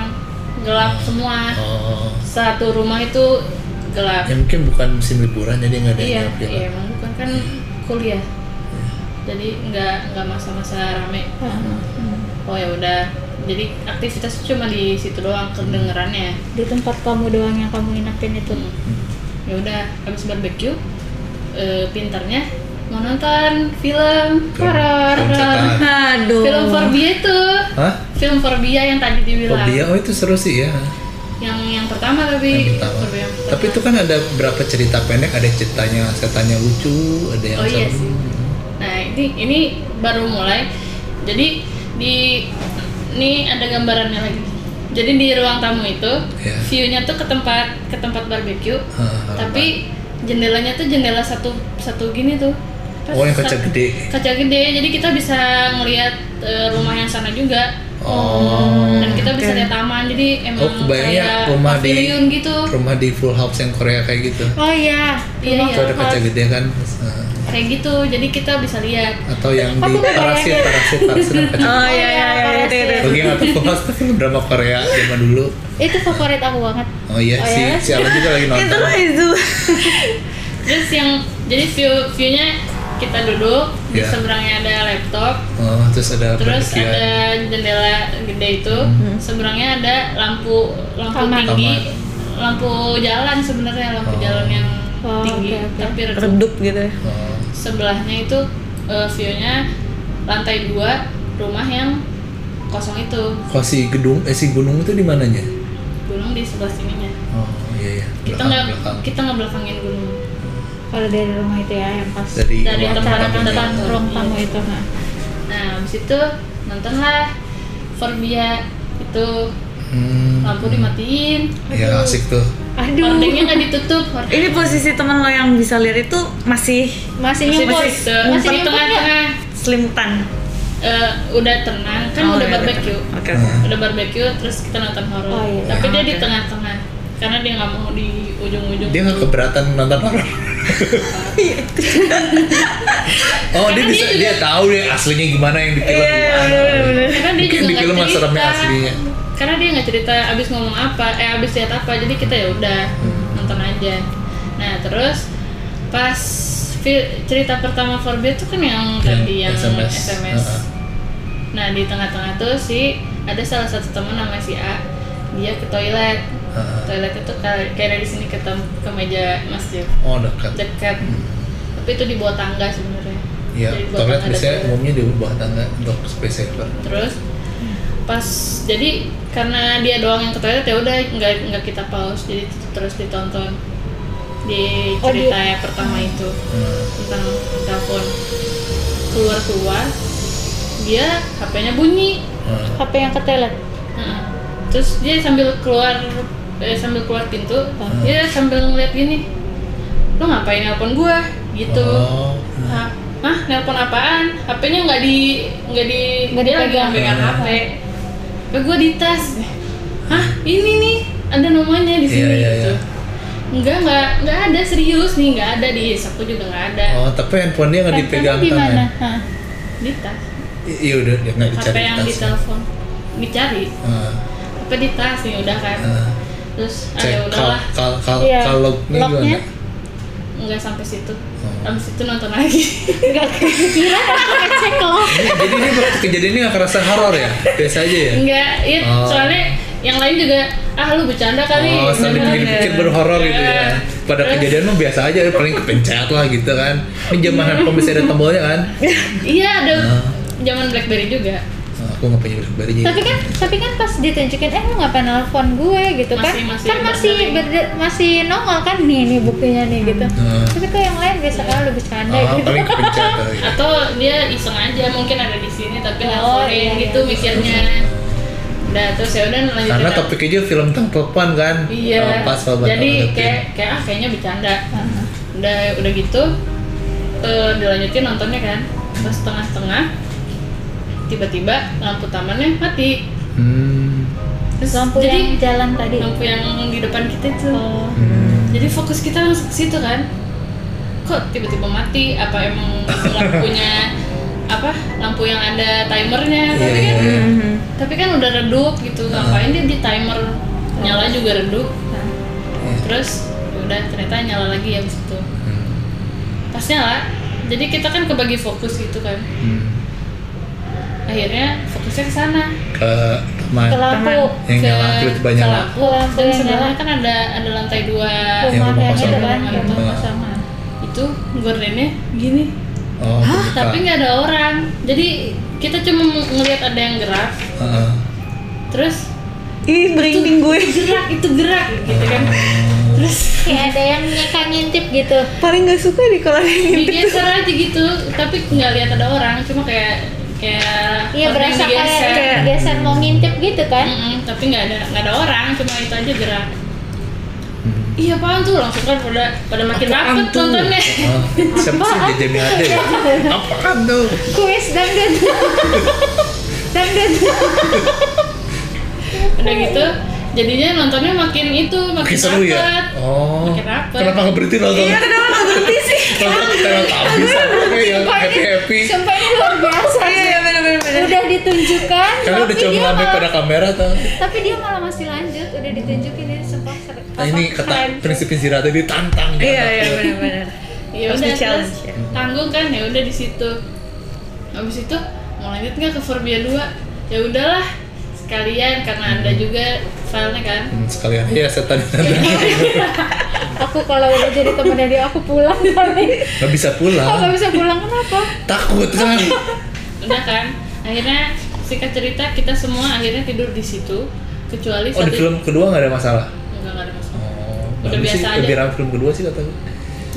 [SPEAKER 2] gelap semua
[SPEAKER 1] oh
[SPEAKER 2] satu rumah itu gelap.
[SPEAKER 1] ya mungkin bukan musim liburan jadi nggak ada
[SPEAKER 2] iya,
[SPEAKER 1] yang gelap gitu. Iya.
[SPEAKER 2] iya, emang bukan kan kuliah. Jadi nggak nggak masa-masa rame. Oh ya udah. Jadi aktivitas cuma di situ doang kedengerannya.
[SPEAKER 4] Di tempat kamu doang yang kamu inapin itu.
[SPEAKER 2] Hmm. Ya udah, habis barbeque eh, pintarnya mau nonton film horor.
[SPEAKER 1] Film setan.
[SPEAKER 6] Aduh.
[SPEAKER 2] Film Forbia itu.
[SPEAKER 1] Hah?
[SPEAKER 2] Film Forbia yang tadi dibilang.
[SPEAKER 1] Fobia? Oh itu seru sih ya
[SPEAKER 2] Yang yang pertama
[SPEAKER 1] Yang
[SPEAKER 2] tapi
[SPEAKER 1] pertama.
[SPEAKER 2] Forbia yang pertama.
[SPEAKER 1] Tapi itu kan ada berapa cerita pendek Ada ceritanya setannya lucu Ada yang
[SPEAKER 2] Oh iya
[SPEAKER 1] serem.
[SPEAKER 2] sih. Nah ini ini baru mulai. Jadi di ini ada gambarannya lagi. Jadi di ruang tamu itu
[SPEAKER 1] Iya.
[SPEAKER 2] view-nya tuh ke tempat ke tempat barbeque.
[SPEAKER 1] Ah,
[SPEAKER 2] Tapi jendelanya tuh jendela satu satu gini tuh. Terus
[SPEAKER 1] Oh yang kaca
[SPEAKER 2] sa-
[SPEAKER 1] gede
[SPEAKER 2] Kaca gede. Jadi kita bisa ngelihat eh, rumah yang sana juga.
[SPEAKER 1] Oh
[SPEAKER 2] Dan kita bisa lihat taman. Jadi emang
[SPEAKER 1] Oh, kebayangnya
[SPEAKER 2] kayak
[SPEAKER 1] rumah di-
[SPEAKER 2] pavilion gitu.
[SPEAKER 1] rumah di full house yang Korea kayak gitu
[SPEAKER 4] Oh iya.
[SPEAKER 2] Iya,
[SPEAKER 4] rumah
[SPEAKER 2] iya.
[SPEAKER 1] itu ada
[SPEAKER 4] full
[SPEAKER 1] kaca
[SPEAKER 4] house.
[SPEAKER 1] gede kan Nah,
[SPEAKER 2] Kayak gitu. Jadi kita bisa lihat.
[SPEAKER 1] atau yang di
[SPEAKER 4] Aku nggak
[SPEAKER 1] parasit
[SPEAKER 4] bayangin.
[SPEAKER 1] parasit parasit yang kaca
[SPEAKER 6] Oh iya iya iya
[SPEAKER 4] Parah
[SPEAKER 6] itu
[SPEAKER 4] sih.
[SPEAKER 6] itu.
[SPEAKER 1] bagi yang nggak tahu full house itu film drama Korea zaman dulu
[SPEAKER 4] Itu favorit aku banget.
[SPEAKER 1] oh iya
[SPEAKER 4] Oh,
[SPEAKER 1] si
[SPEAKER 4] iya?
[SPEAKER 1] si Alan juga lagi
[SPEAKER 6] Itu
[SPEAKER 1] nonton
[SPEAKER 6] itu.
[SPEAKER 2] Terus yang jadi view viewnya kita duduk di
[SPEAKER 1] Iya.
[SPEAKER 2] seberangnya ada laptop,
[SPEAKER 1] oh terus ada
[SPEAKER 2] terus
[SPEAKER 1] perdekian.
[SPEAKER 2] ada jendela gede itu, seberangnya ada lampu lampu
[SPEAKER 4] Hmm. Taman.
[SPEAKER 2] tinggi,
[SPEAKER 1] Taman.
[SPEAKER 2] lampu jalan sebenarnya lampu
[SPEAKER 1] Oh.
[SPEAKER 2] jalan yang
[SPEAKER 4] Oh,
[SPEAKER 2] tinggi
[SPEAKER 4] oke, oke.
[SPEAKER 2] tapi redup.
[SPEAKER 6] Redup gitu ya.
[SPEAKER 1] oh,
[SPEAKER 2] Sebelahnya itu eh, view-nya lantai dua rumah yang kosong itu,
[SPEAKER 1] kalau si gedung eh si gunung itu di mananya
[SPEAKER 2] gunung di sebelah sininya.
[SPEAKER 1] oh iya iya
[SPEAKER 2] Kita
[SPEAKER 1] belakang
[SPEAKER 2] nggak
[SPEAKER 1] belakang
[SPEAKER 2] kita nggak belakangin gunung.
[SPEAKER 4] Kalau dari rumah itu ya yang pas
[SPEAKER 1] dari
[SPEAKER 2] dari
[SPEAKER 1] ruang
[SPEAKER 2] tempat-
[SPEAKER 1] tamunya.
[SPEAKER 2] tempat-
[SPEAKER 4] ruang tamu itu nah.
[SPEAKER 2] Nah, habis itu nonton lah Forbia itu
[SPEAKER 1] Hmm.
[SPEAKER 2] lampu dimatiin
[SPEAKER 1] Ya asik tuh.
[SPEAKER 6] Aduh.
[SPEAKER 2] hordengnya nggak ditutup
[SPEAKER 6] Ini
[SPEAKER 2] hordeng-
[SPEAKER 6] posisi teman lo yang bisa lihat itu masih
[SPEAKER 4] masih
[SPEAKER 2] masih
[SPEAKER 4] nyumput
[SPEAKER 2] gitu,
[SPEAKER 4] masih nyumput
[SPEAKER 2] di
[SPEAKER 4] ya
[SPEAKER 2] tengah-tengah
[SPEAKER 6] selimutan.
[SPEAKER 2] Eh, udah tenang kan
[SPEAKER 6] Oh,
[SPEAKER 2] udah
[SPEAKER 6] iya,
[SPEAKER 2] barbecue
[SPEAKER 6] iya. Oke. oke.
[SPEAKER 2] udah barbecue terus kita nonton horor
[SPEAKER 4] Oh, iya.
[SPEAKER 2] tapi dia
[SPEAKER 6] Ah,
[SPEAKER 2] di
[SPEAKER 6] oke.
[SPEAKER 2] tengah-tengah karena dia nggak mau di ujung-ujung
[SPEAKER 1] Dia nggak keberatan nonton horor. oh dia
[SPEAKER 2] Karena
[SPEAKER 1] bisa
[SPEAKER 2] dia juga-
[SPEAKER 1] dia tahu deh aslinya gimana yang di film.
[SPEAKER 6] Iya, bener-bener.
[SPEAKER 2] karena dia
[SPEAKER 1] Mungkin
[SPEAKER 2] juga
[SPEAKER 1] di
[SPEAKER 2] nggak
[SPEAKER 1] film mas
[SPEAKER 2] cerita
[SPEAKER 1] seremnya aslinya.
[SPEAKER 2] karena dia nggak cerita abis ngomong apa eh abis lihat apa jadi kita ya udah
[SPEAKER 1] Hmm.
[SPEAKER 2] nonton aja nah terus pas fi- cerita pertama Forbid itu kan yang tadi yang
[SPEAKER 1] SMS.
[SPEAKER 2] SMS,
[SPEAKER 1] Heeh.
[SPEAKER 2] nah di tengah-tengah tuh si ada salah satu teman namanya si A dia ke toilet
[SPEAKER 1] Heeh.
[SPEAKER 2] toilet itu kayak kayak dari sini ke tem- ke meja masjid
[SPEAKER 1] Oh dekat.
[SPEAKER 2] dekat tapi itu di bawah tangga sebenarnya
[SPEAKER 1] Iya,
[SPEAKER 2] Jadi di
[SPEAKER 1] toilet
[SPEAKER 2] bawah tangga ada
[SPEAKER 1] biasanya
[SPEAKER 2] toilet.
[SPEAKER 1] umumnya di bawah tangga untuk space saver.
[SPEAKER 2] terus pas jadi karena dia doang yang ke toilet ya udah nggak nggak kita pause jadi t- terus ditonton di
[SPEAKER 4] Oh,
[SPEAKER 2] cerita yang pertama itu
[SPEAKER 1] Hmm.
[SPEAKER 2] tentang telepon keluar keluar dia HP-nya bunyi
[SPEAKER 1] Hmm.
[SPEAKER 4] HP yang ke toilet
[SPEAKER 2] Heeh. terus dia sambil keluar eh, sambil keluar pintu
[SPEAKER 1] Ah.
[SPEAKER 2] dia sambil ngeliat gini lu ngapain nelpon gua gitu
[SPEAKER 1] Oh.
[SPEAKER 2] Hah, Hah, nelpon apaan? HP-nya nggak di nggak di
[SPEAKER 4] Nggak
[SPEAKER 2] dia lagi
[SPEAKER 4] dipegang. Ah.
[SPEAKER 2] pegang
[SPEAKER 1] Hmm.
[SPEAKER 2] HP. Ya gue di tas. Hah, ini nih ada nomornya di
[SPEAKER 1] Iya,
[SPEAKER 2] sini
[SPEAKER 1] iya,
[SPEAKER 2] gitu.
[SPEAKER 1] iya.
[SPEAKER 2] Enggak, enggak, enggak ada serius nih, enggak ada di aku juga enggak ada.
[SPEAKER 1] Oh, tapi handphone dia nggak dipegang
[SPEAKER 4] Handphone di mana
[SPEAKER 1] tangan.
[SPEAKER 4] Hah.
[SPEAKER 2] Di tas.
[SPEAKER 1] I- Iya udah, dia nggak
[SPEAKER 2] HP
[SPEAKER 1] dicari Ah,
[SPEAKER 2] yang
[SPEAKER 1] tasnya.
[SPEAKER 2] di telepon. Dicari.
[SPEAKER 1] Heeh,
[SPEAKER 2] HP di tas nih udah kan.
[SPEAKER 1] heeh.
[SPEAKER 2] Terus
[SPEAKER 1] Ah. Cek
[SPEAKER 2] ada
[SPEAKER 1] kal
[SPEAKER 2] ya udahlah,
[SPEAKER 1] kal kal
[SPEAKER 4] Iya,
[SPEAKER 1] kal lognya
[SPEAKER 4] lognya.
[SPEAKER 1] gimana?
[SPEAKER 2] enggak sampai situ.
[SPEAKER 1] Hmm.
[SPEAKER 2] Abis itu nonton lagi.
[SPEAKER 4] nggak kepikiran aku ngecek loh
[SPEAKER 1] Jadi ini waktu kejadian ini nggak kerasa horor ya? Biasa aja ya.
[SPEAKER 2] Enggak, ya
[SPEAKER 1] Oh.
[SPEAKER 2] soalnya yang lain juga ah lu bercanda kali.
[SPEAKER 1] Oh, sambil
[SPEAKER 2] Beneran.
[SPEAKER 1] dipikir-pikir berhoror gitu
[SPEAKER 2] Iya.
[SPEAKER 1] ya. Pada
[SPEAKER 2] Terus-
[SPEAKER 1] kejadian mah biasa aja, paling kepencet lah gitu kan. Ini zaman handphone bisa ada tombolnya kan?
[SPEAKER 2] Iya ada
[SPEAKER 1] Ah.
[SPEAKER 2] zaman BlackBerry juga.
[SPEAKER 1] Nah, aku nggak punya BlackBerry jadi.
[SPEAKER 4] tapi kan tapi kan pas ditunjukin eh lu ngapain nelfon gue gitu kan
[SPEAKER 2] Masih- masih
[SPEAKER 4] kan masih
[SPEAKER 2] berdering.
[SPEAKER 4] berde- masih nongol kan nih nih buktinya nih gitu
[SPEAKER 1] Hmm.
[SPEAKER 4] tapi kok yang lain biasa ah lu bercanda
[SPEAKER 1] Ah,
[SPEAKER 4] gitu
[SPEAKER 1] paling kepencet lah gitu.
[SPEAKER 2] Atau dia iseng aja mungkin ada di sini tapi
[SPEAKER 4] Oh,
[SPEAKER 2] oh,
[SPEAKER 4] iya, iya.
[SPEAKER 2] gitu mikirnya. Udah terus ya udah lanjutin.
[SPEAKER 1] Karena topik aja film tentang telepon kan.
[SPEAKER 2] Iya.
[SPEAKER 1] Oh, Pas banget.
[SPEAKER 2] Jadi kayak kayak ah kayaknya bercanda.
[SPEAKER 4] Nah,
[SPEAKER 2] Udah udah gitu eh, dilanjutin nontonnya kan. Pas tengah-tengah tiba-tiba lampu tamannya mati.
[SPEAKER 1] Hmm.
[SPEAKER 2] Terus
[SPEAKER 4] lampu
[SPEAKER 2] jadi Nah,
[SPEAKER 4] yang jalan tadi
[SPEAKER 2] lampu yang di depan kita itu.
[SPEAKER 4] oh
[SPEAKER 1] Hmm.
[SPEAKER 2] Jadi fokus kita langsung ke situ kan. Kok tiba-tiba mati? Apa emang lampunya apa? Lampu yang ada timernya? Tapi
[SPEAKER 1] Iya,
[SPEAKER 2] kan
[SPEAKER 1] iya, iya.
[SPEAKER 6] Mhm.
[SPEAKER 2] tapi kan udah redup gitu. Ngapain dia di timer? Nyala juga redup.
[SPEAKER 1] Iya.
[SPEAKER 2] Terus ya udah ternyata nyala lagi ya itu. Pas nyala, jadi kita kan kebagi fokus gitu kan.
[SPEAKER 1] Hmm.
[SPEAKER 2] Akhirnya fokusnya ke sana.
[SPEAKER 1] Ke taman
[SPEAKER 4] ke lampu
[SPEAKER 1] yang
[SPEAKER 2] ke-
[SPEAKER 1] nyala tiba-tiba
[SPEAKER 2] ke
[SPEAKER 1] nyala.
[SPEAKER 2] lampu.
[SPEAKER 4] Ke lampu
[SPEAKER 2] Dan
[SPEAKER 4] yang
[SPEAKER 2] sebelahnya
[SPEAKER 4] nyala.
[SPEAKER 2] kan ada ada lantai dua.
[SPEAKER 1] Yang
[SPEAKER 4] rumah
[SPEAKER 1] rumah
[SPEAKER 2] Iya
[SPEAKER 4] yang
[SPEAKER 1] kosong.
[SPEAKER 4] itu kan
[SPEAKER 2] Rumah
[SPEAKER 4] rumah
[SPEAKER 1] kosong.
[SPEAKER 4] kosongan
[SPEAKER 2] Itu gordennya gini.
[SPEAKER 1] Oh, kebuka.
[SPEAKER 2] tapi nggak ada orang jadi kita cuma ng- ngelihat ada yang gerak
[SPEAKER 1] Heeh.
[SPEAKER 2] terus
[SPEAKER 6] Ih, merinding gue.
[SPEAKER 2] gerak itu gerak gitu kan terus
[SPEAKER 4] kayak ada yang nyeka ngintip gitu
[SPEAKER 6] Paling gak suka di kalau ada yang ngintip.
[SPEAKER 2] digeser aja gitu tapi nggak lihat ada orang cuma kayak kayak
[SPEAKER 4] iya berasa
[SPEAKER 2] orang yang digeser.
[SPEAKER 4] kayak geser mau ngintip gitu kan
[SPEAKER 2] Mm-mm, tapi nggak ada nggak ada orang cuma itu aja gerak
[SPEAKER 1] Mm-hmm.
[SPEAKER 2] iya apaan tuh langsung kan pada pada makin
[SPEAKER 1] Apaan
[SPEAKER 2] rapet
[SPEAKER 1] tuh?
[SPEAKER 2] nontonnya
[SPEAKER 1] Oh, siapa sih jajan yang ada ya? Apaan tuh?
[SPEAKER 4] kuis dangdut dangdut
[SPEAKER 2] udah gitu jadinya nontonnya makin itu
[SPEAKER 1] Oke
[SPEAKER 2] makin
[SPEAKER 1] seru ya?
[SPEAKER 2] rapet.
[SPEAKER 1] Oh,
[SPEAKER 2] Makin rapet.
[SPEAKER 1] kenapa nggak berhenti nonton? Iya, kenapa nggak berhenti sih? Nonton Teletubbies apa yang happy-happy
[SPEAKER 4] sumpah ini luar biasa
[SPEAKER 6] Iya, iya, bener-bener.
[SPEAKER 4] udah ditunjukkan
[SPEAKER 1] Karena udah
[SPEAKER 4] tapi
[SPEAKER 1] coba
[SPEAKER 4] dia
[SPEAKER 1] ngambil
[SPEAKER 4] malah-
[SPEAKER 1] pada kamera tuh
[SPEAKER 4] tapi dia malah masih lanjut udah ditunjukin ini sempat ser-
[SPEAKER 1] Nah ini
[SPEAKER 4] apa,
[SPEAKER 1] kata
[SPEAKER 4] keren.
[SPEAKER 1] prinsip Zira tadi tantang gitu.
[SPEAKER 6] Iya, iya, bener-bener.
[SPEAKER 2] ya
[SPEAKER 6] Harus
[SPEAKER 2] udah
[SPEAKER 6] di-challenge,
[SPEAKER 2] terus
[SPEAKER 6] ya.
[SPEAKER 2] tanggung kan ya udah di situ habis itu mau lanjut nggak ke Forbia 2 ya udahlah sekalian karena ada juga filenya kan
[SPEAKER 1] Hmm, sekalian iya setan tantang
[SPEAKER 4] aku kalau udah jadi temennya dia aku pulang kali
[SPEAKER 1] nggak bisa
[SPEAKER 4] kok nggak
[SPEAKER 1] pulang
[SPEAKER 4] bisa pulang kenapa
[SPEAKER 1] takut kan
[SPEAKER 2] udah kan akhirnya singkat cerita kita semua akhirnya tidur di situ kecuali
[SPEAKER 1] oh di
[SPEAKER 2] satu
[SPEAKER 1] film kedua nggak ada masalah
[SPEAKER 2] enggak nggak ada masalah
[SPEAKER 1] oh
[SPEAKER 2] Udah
[SPEAKER 1] bagus sih
[SPEAKER 2] biasa
[SPEAKER 1] lebih
[SPEAKER 2] aja.
[SPEAKER 1] ramai film kedua sih kata gue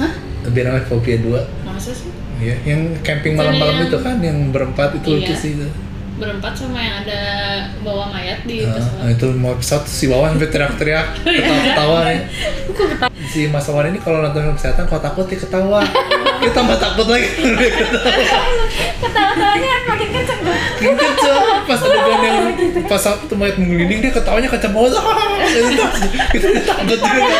[SPEAKER 2] hah
[SPEAKER 1] lebih ramai fobia dua
[SPEAKER 2] masa sih
[SPEAKER 1] Iya, yang camping
[SPEAKER 2] Itu
[SPEAKER 1] malam-malam
[SPEAKER 2] yang-
[SPEAKER 1] itu kan yang berempat itu lucu
[SPEAKER 2] Iya.
[SPEAKER 1] sih itu.
[SPEAKER 2] berempat sama yang ada bawa mayat di
[SPEAKER 1] Nah,
[SPEAKER 2] pesawat
[SPEAKER 1] itu mau pesawat si bawah sampai teriak-teriak
[SPEAKER 2] Iya.
[SPEAKER 1] ketawa-ketawa nih. Si Mas Wawan ini kalau nonton film kesehatan kalau takut dia ketawa. Dia tambah takut lagi.
[SPEAKER 8] Ketawa-ketawanya kan makin kenceng tuh.
[SPEAKER 1] Dia kenceng pas adegan yang pas satu mayat menggelinding dia ketawanya kenceng banget. Itu itu dia takut juga.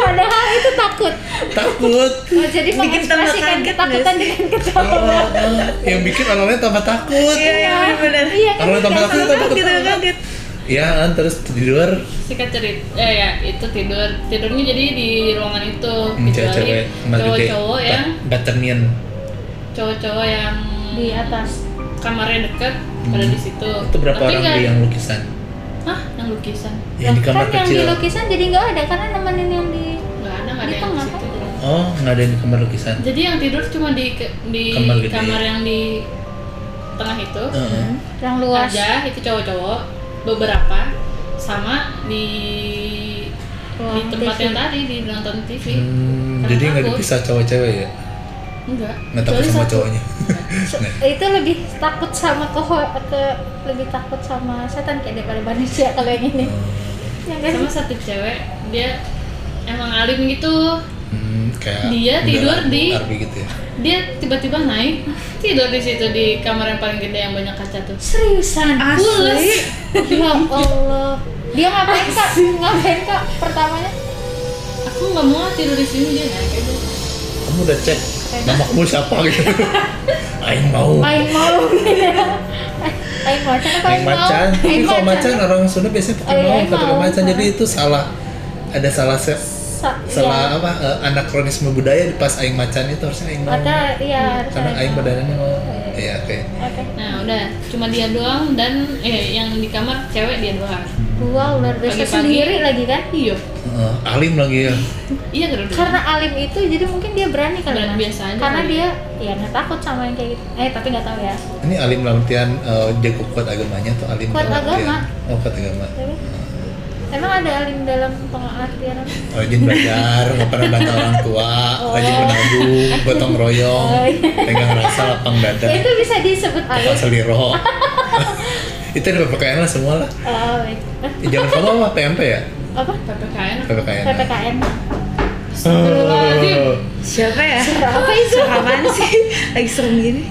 [SPEAKER 4] Padahal itu takut.
[SPEAKER 1] Takut.
[SPEAKER 4] Oh, jadi
[SPEAKER 6] Bikin
[SPEAKER 4] mengekspresikan
[SPEAKER 6] tambah kaget
[SPEAKER 4] ketakutan dengan ketawa.
[SPEAKER 1] Ah, ah. yang bikin orang-orang tambah takut.
[SPEAKER 6] Iya, iya, benar.
[SPEAKER 4] Iya kan?
[SPEAKER 1] Orang tambah takut
[SPEAKER 6] Kaget,
[SPEAKER 1] tambah
[SPEAKER 2] gitu
[SPEAKER 6] kaget,
[SPEAKER 1] ketawa.
[SPEAKER 6] kaget.
[SPEAKER 1] Iya, kan, terus tidur
[SPEAKER 2] sikat cerit eh ya itu tidur tidurnya jadi di ruangan itu
[SPEAKER 1] Hmm,
[SPEAKER 2] kecuali
[SPEAKER 1] cewek-cewek mas gede.
[SPEAKER 2] cowok-cowok ya. yang
[SPEAKER 1] Bat- Batternian.
[SPEAKER 2] cowok-cowok yang
[SPEAKER 4] Di atas.
[SPEAKER 2] kamarnya deket pada di situ
[SPEAKER 1] Hmm. Itu berapa
[SPEAKER 2] Oh, Tapi
[SPEAKER 1] orang
[SPEAKER 2] nggak-
[SPEAKER 1] beli yang lukisan?
[SPEAKER 2] Hah, yang lukisan
[SPEAKER 1] Yang di
[SPEAKER 4] Loh,
[SPEAKER 1] kamar
[SPEAKER 4] kan
[SPEAKER 1] kecil.
[SPEAKER 4] yang di lukisan jadi nggak ada karena nemenin yang di
[SPEAKER 2] nggak ada nggak
[SPEAKER 4] Di
[SPEAKER 2] ada yang di
[SPEAKER 4] tengah,
[SPEAKER 2] situ
[SPEAKER 1] Oh, nggak ada yang di kamar lukisan.
[SPEAKER 2] jadi yang tidur cuma di ke- di
[SPEAKER 1] Kamar
[SPEAKER 2] kamar,
[SPEAKER 1] gede. Eh.
[SPEAKER 2] yang di tengah itu
[SPEAKER 1] Heeh.
[SPEAKER 4] yang luas.
[SPEAKER 2] aja itu cowok-cowok beberapa sama di di
[SPEAKER 4] Ruang
[SPEAKER 2] tempat
[SPEAKER 4] TV.
[SPEAKER 2] yang tadi di nonton TV
[SPEAKER 1] Hmm,
[SPEAKER 2] Karena
[SPEAKER 1] jadi nggak
[SPEAKER 2] takut.
[SPEAKER 1] dipisah cowok-cewek ya?
[SPEAKER 2] enggak
[SPEAKER 1] Nggak takut
[SPEAKER 2] Kecuali
[SPEAKER 1] sama
[SPEAKER 2] satu.
[SPEAKER 1] cowoknya?
[SPEAKER 4] Se-
[SPEAKER 1] Nah.
[SPEAKER 4] Itu lebih takut sama ke, ke lebih takut sama setan kayak daripada manusia kalau yang ini.
[SPEAKER 1] Oh.
[SPEAKER 4] Ya kan?
[SPEAKER 2] sama satu cewek dia emang alim gitu
[SPEAKER 1] Hmm, kayak
[SPEAKER 2] Dia
[SPEAKER 1] udah
[SPEAKER 2] tidur di-
[SPEAKER 1] Arbi gitu ya?
[SPEAKER 2] dia tiba-tiba naik tidur di situ di kamar yang paling gede yang banyak kaca tuh
[SPEAKER 4] Seriusan?
[SPEAKER 6] Asli.
[SPEAKER 4] Ya Allah. Dia ngapain kak? Ngapain kak? Pertamanya
[SPEAKER 2] aku nggak mau tidur di sini dia naik aja
[SPEAKER 1] Kamu udah cek namamu siapa gitu? Aing mau.
[SPEAKER 4] main mau gitu ya. Aing macan apa
[SPEAKER 1] Aing macan. Tapi
[SPEAKER 4] Aing
[SPEAKER 1] kalau macan
[SPEAKER 4] macan.
[SPEAKER 1] orang Sunda biasanya pakai
[SPEAKER 4] Oh, iya,
[SPEAKER 1] mau,
[SPEAKER 4] Aing
[SPEAKER 1] nggak pakai
[SPEAKER 4] mau.
[SPEAKER 1] macan. Jadi itu salah. Ada salah se
[SPEAKER 4] Sa-
[SPEAKER 1] salah
[SPEAKER 4] iya.
[SPEAKER 1] apa eh, anakronisme budaya di pas aing macan itu harusnya aing mau.
[SPEAKER 4] Mata iya harus
[SPEAKER 1] Karena aing
[SPEAKER 4] mau.
[SPEAKER 1] badanannya mau. Iya, oke.
[SPEAKER 4] Oke.
[SPEAKER 2] nah udah cuma dia doang dan eh, yang di kamar cewek dia doang
[SPEAKER 4] Gua luar biasa
[SPEAKER 2] Pagi-pagi.
[SPEAKER 4] sendiri lagi kan?
[SPEAKER 2] iya
[SPEAKER 1] Heeh, alim lagi ya.
[SPEAKER 2] iya kan udah.
[SPEAKER 4] Karena alim itu jadi mungkin dia berani kali
[SPEAKER 2] Berani
[SPEAKER 4] Mas.
[SPEAKER 2] biasa aja
[SPEAKER 4] Karena
[SPEAKER 2] kali.
[SPEAKER 4] dia ya nggak takut sama yang kayak gitu. Eh tapi nggak tahu ya.
[SPEAKER 1] Ini alim dalam artian eh, jago kuat agamanya atau alim
[SPEAKER 4] Kuat
[SPEAKER 1] dalam artian-
[SPEAKER 4] agama.
[SPEAKER 1] Oh, kuat agama.
[SPEAKER 4] Tapi, Emang ada alim dalam pengertian apa?
[SPEAKER 1] rajin belajar, nggak pernah bantah orang tua, rajin menabung, gotong royong,
[SPEAKER 4] Oh, iya.
[SPEAKER 1] pegang rasa lapang dada,
[SPEAKER 4] Ya, itu bisa disebut
[SPEAKER 1] pakai
[SPEAKER 4] alim.
[SPEAKER 1] seliro. itu ada PPKN lah semua lah.
[SPEAKER 4] Oh, baik.
[SPEAKER 1] Ya, Jangan kamu apa PMP ya?
[SPEAKER 4] apa?
[SPEAKER 2] ppkn apa?
[SPEAKER 1] PPKN.
[SPEAKER 4] PPKN.
[SPEAKER 1] Oh,
[SPEAKER 6] Siapa ya?
[SPEAKER 4] Apa itu?
[SPEAKER 6] Apaan sih? Lagi serem gini.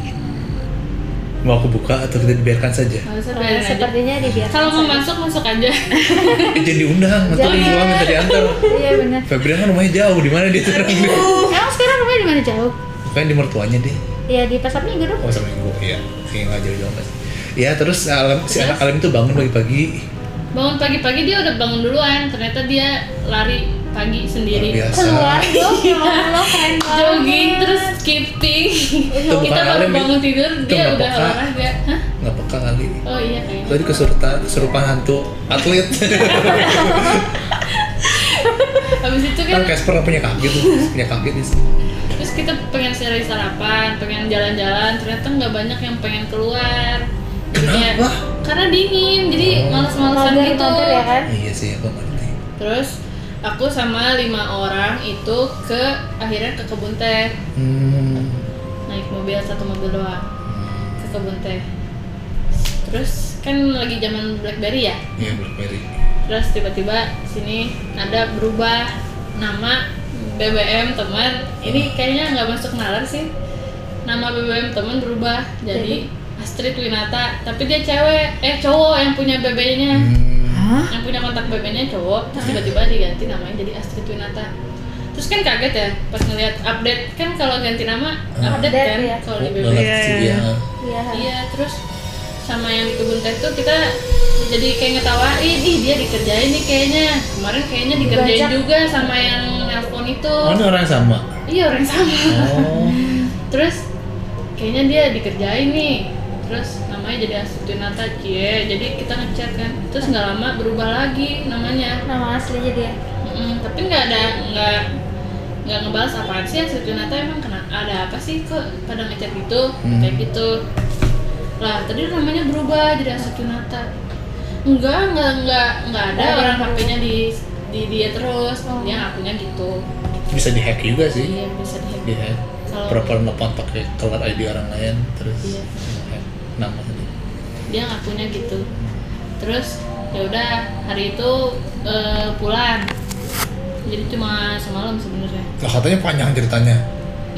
[SPEAKER 1] mau aku buka atau kita dibiarkan saja?
[SPEAKER 2] Harusnya
[SPEAKER 4] Eh,
[SPEAKER 2] biarin aja.
[SPEAKER 4] Sepertinya dibiarkan.
[SPEAKER 2] kalau mau
[SPEAKER 4] saja.
[SPEAKER 2] masuk masuk aja
[SPEAKER 1] Eh, Jangan diundang, nanti
[SPEAKER 4] Jangan.
[SPEAKER 1] dijual minta diantar.
[SPEAKER 4] Iya benar.
[SPEAKER 1] Febrian kan rumahnya jauh, di mana
[SPEAKER 4] Iya.
[SPEAKER 1] dia sekarang?
[SPEAKER 4] Emang sekarang rumahnya di mana jauh?
[SPEAKER 1] Bukan di mertuanya deh.
[SPEAKER 4] Ya di pasar minggu dong.
[SPEAKER 1] Oh sama minggu, iya. Kayak nggak jauh-jauh mas. Ya terus alam, si anak alim itu bangun pagi-pagi
[SPEAKER 2] bangun pagi-pagi dia udah bangun duluan ternyata dia lari pagi
[SPEAKER 1] luar
[SPEAKER 2] sendiri
[SPEAKER 1] biasa.
[SPEAKER 4] Iya, Keluar dong. Ya Allah keren banget.
[SPEAKER 2] jogging terus skipping
[SPEAKER 1] Itu bukan
[SPEAKER 2] kita baru
[SPEAKER 1] alim,
[SPEAKER 2] bangun tidur
[SPEAKER 1] itu
[SPEAKER 2] dia
[SPEAKER 1] nggak
[SPEAKER 2] udah
[SPEAKER 1] peka.
[SPEAKER 2] olahraga Hah?
[SPEAKER 1] Nggak peka kali.
[SPEAKER 2] oh iya kayaknya
[SPEAKER 1] Tadi kesurupan, kesurupan hantu atlet.
[SPEAKER 2] habis itu
[SPEAKER 1] kan
[SPEAKER 2] kan
[SPEAKER 1] Casper nggak punya kaki tuh, punya kaki di
[SPEAKER 2] terus kita pengen cari sarapan pengen jalan-jalan ternyata nggak banyak yang pengen keluar Jadinya-
[SPEAKER 1] Kenapa?
[SPEAKER 2] karena dingin jadi males-malesan
[SPEAKER 4] Mager
[SPEAKER 2] gitu
[SPEAKER 4] mager ya kan?
[SPEAKER 1] Iya sih, aku ngerti.
[SPEAKER 2] terus aku sama lima orang itu ke akhirnya ke kebun teh
[SPEAKER 1] Hmm.
[SPEAKER 2] naik mobil satu mobil doang ke kebun teh terus kan lagi zaman blackberry ya
[SPEAKER 1] Iya, Blackberry.
[SPEAKER 2] terus tiba-tiba sini ada berubah nama BBM teman ini kayaknya nggak masuk nalar sih nama BBM teman berubah jadi Astrid Winata tapi dia cewek eh cowok yang punya BB-nya
[SPEAKER 1] Hmm.
[SPEAKER 2] yang punya kontak BB-nya cowok terus tiba-tiba diganti namanya jadi Astrid Winata terus kan kaget ya pas ngeliat update kan kalau ganti nama
[SPEAKER 4] Update,
[SPEAKER 2] update, kan
[SPEAKER 4] ya.
[SPEAKER 2] kalau di
[SPEAKER 1] Nggak
[SPEAKER 2] BB
[SPEAKER 1] ngerti sih
[SPEAKER 6] Iya.
[SPEAKER 1] dia.
[SPEAKER 4] Iya.
[SPEAKER 2] Iya, terus sama yang di kebun teh tuh kita jadi kayak ngetawain, ih dia dikerjain nih kayaknya kemarin kayaknya dikerjain
[SPEAKER 4] Dibajak.
[SPEAKER 2] juga sama yang nelpon itu.
[SPEAKER 1] Oh, ini orang yang sama.
[SPEAKER 2] Iya orang sama.
[SPEAKER 1] Oh.
[SPEAKER 2] Terus kayaknya dia dikerjain nih. Terus namanya jadi Astutinata Cie, jadi kita ngechat kan. Terus nggak lama berubah lagi namanya.
[SPEAKER 4] Nama aslinya dia.
[SPEAKER 2] Mm, tapi nggak ada nggak nggak ngebahas apaan sih Astutinata emang kena ada apa sih kok pada ngechat gitu
[SPEAKER 1] Hmm.
[SPEAKER 2] kayak gitu lah tadi namanya berubah jadi Astutinata enggak enggak enggak enggak ada
[SPEAKER 4] Oh,
[SPEAKER 2] orang
[SPEAKER 4] iya.
[SPEAKER 2] HP-nya di di dia terus
[SPEAKER 4] Oh.
[SPEAKER 2] dia ngakunya gitu
[SPEAKER 1] Bisa dihack juga sih.
[SPEAKER 2] iya bisa di
[SPEAKER 1] Dihack.
[SPEAKER 2] Kalau-
[SPEAKER 1] Proper nelfon pakai keluar ID orang lain terus
[SPEAKER 2] Iya.
[SPEAKER 1] hack nama tadi.
[SPEAKER 2] dia ngakunya gitu terus ya udah hari itu eh, pulang jadi cuma semalam sebenarnya
[SPEAKER 1] Lah katanya panjang ceritanya.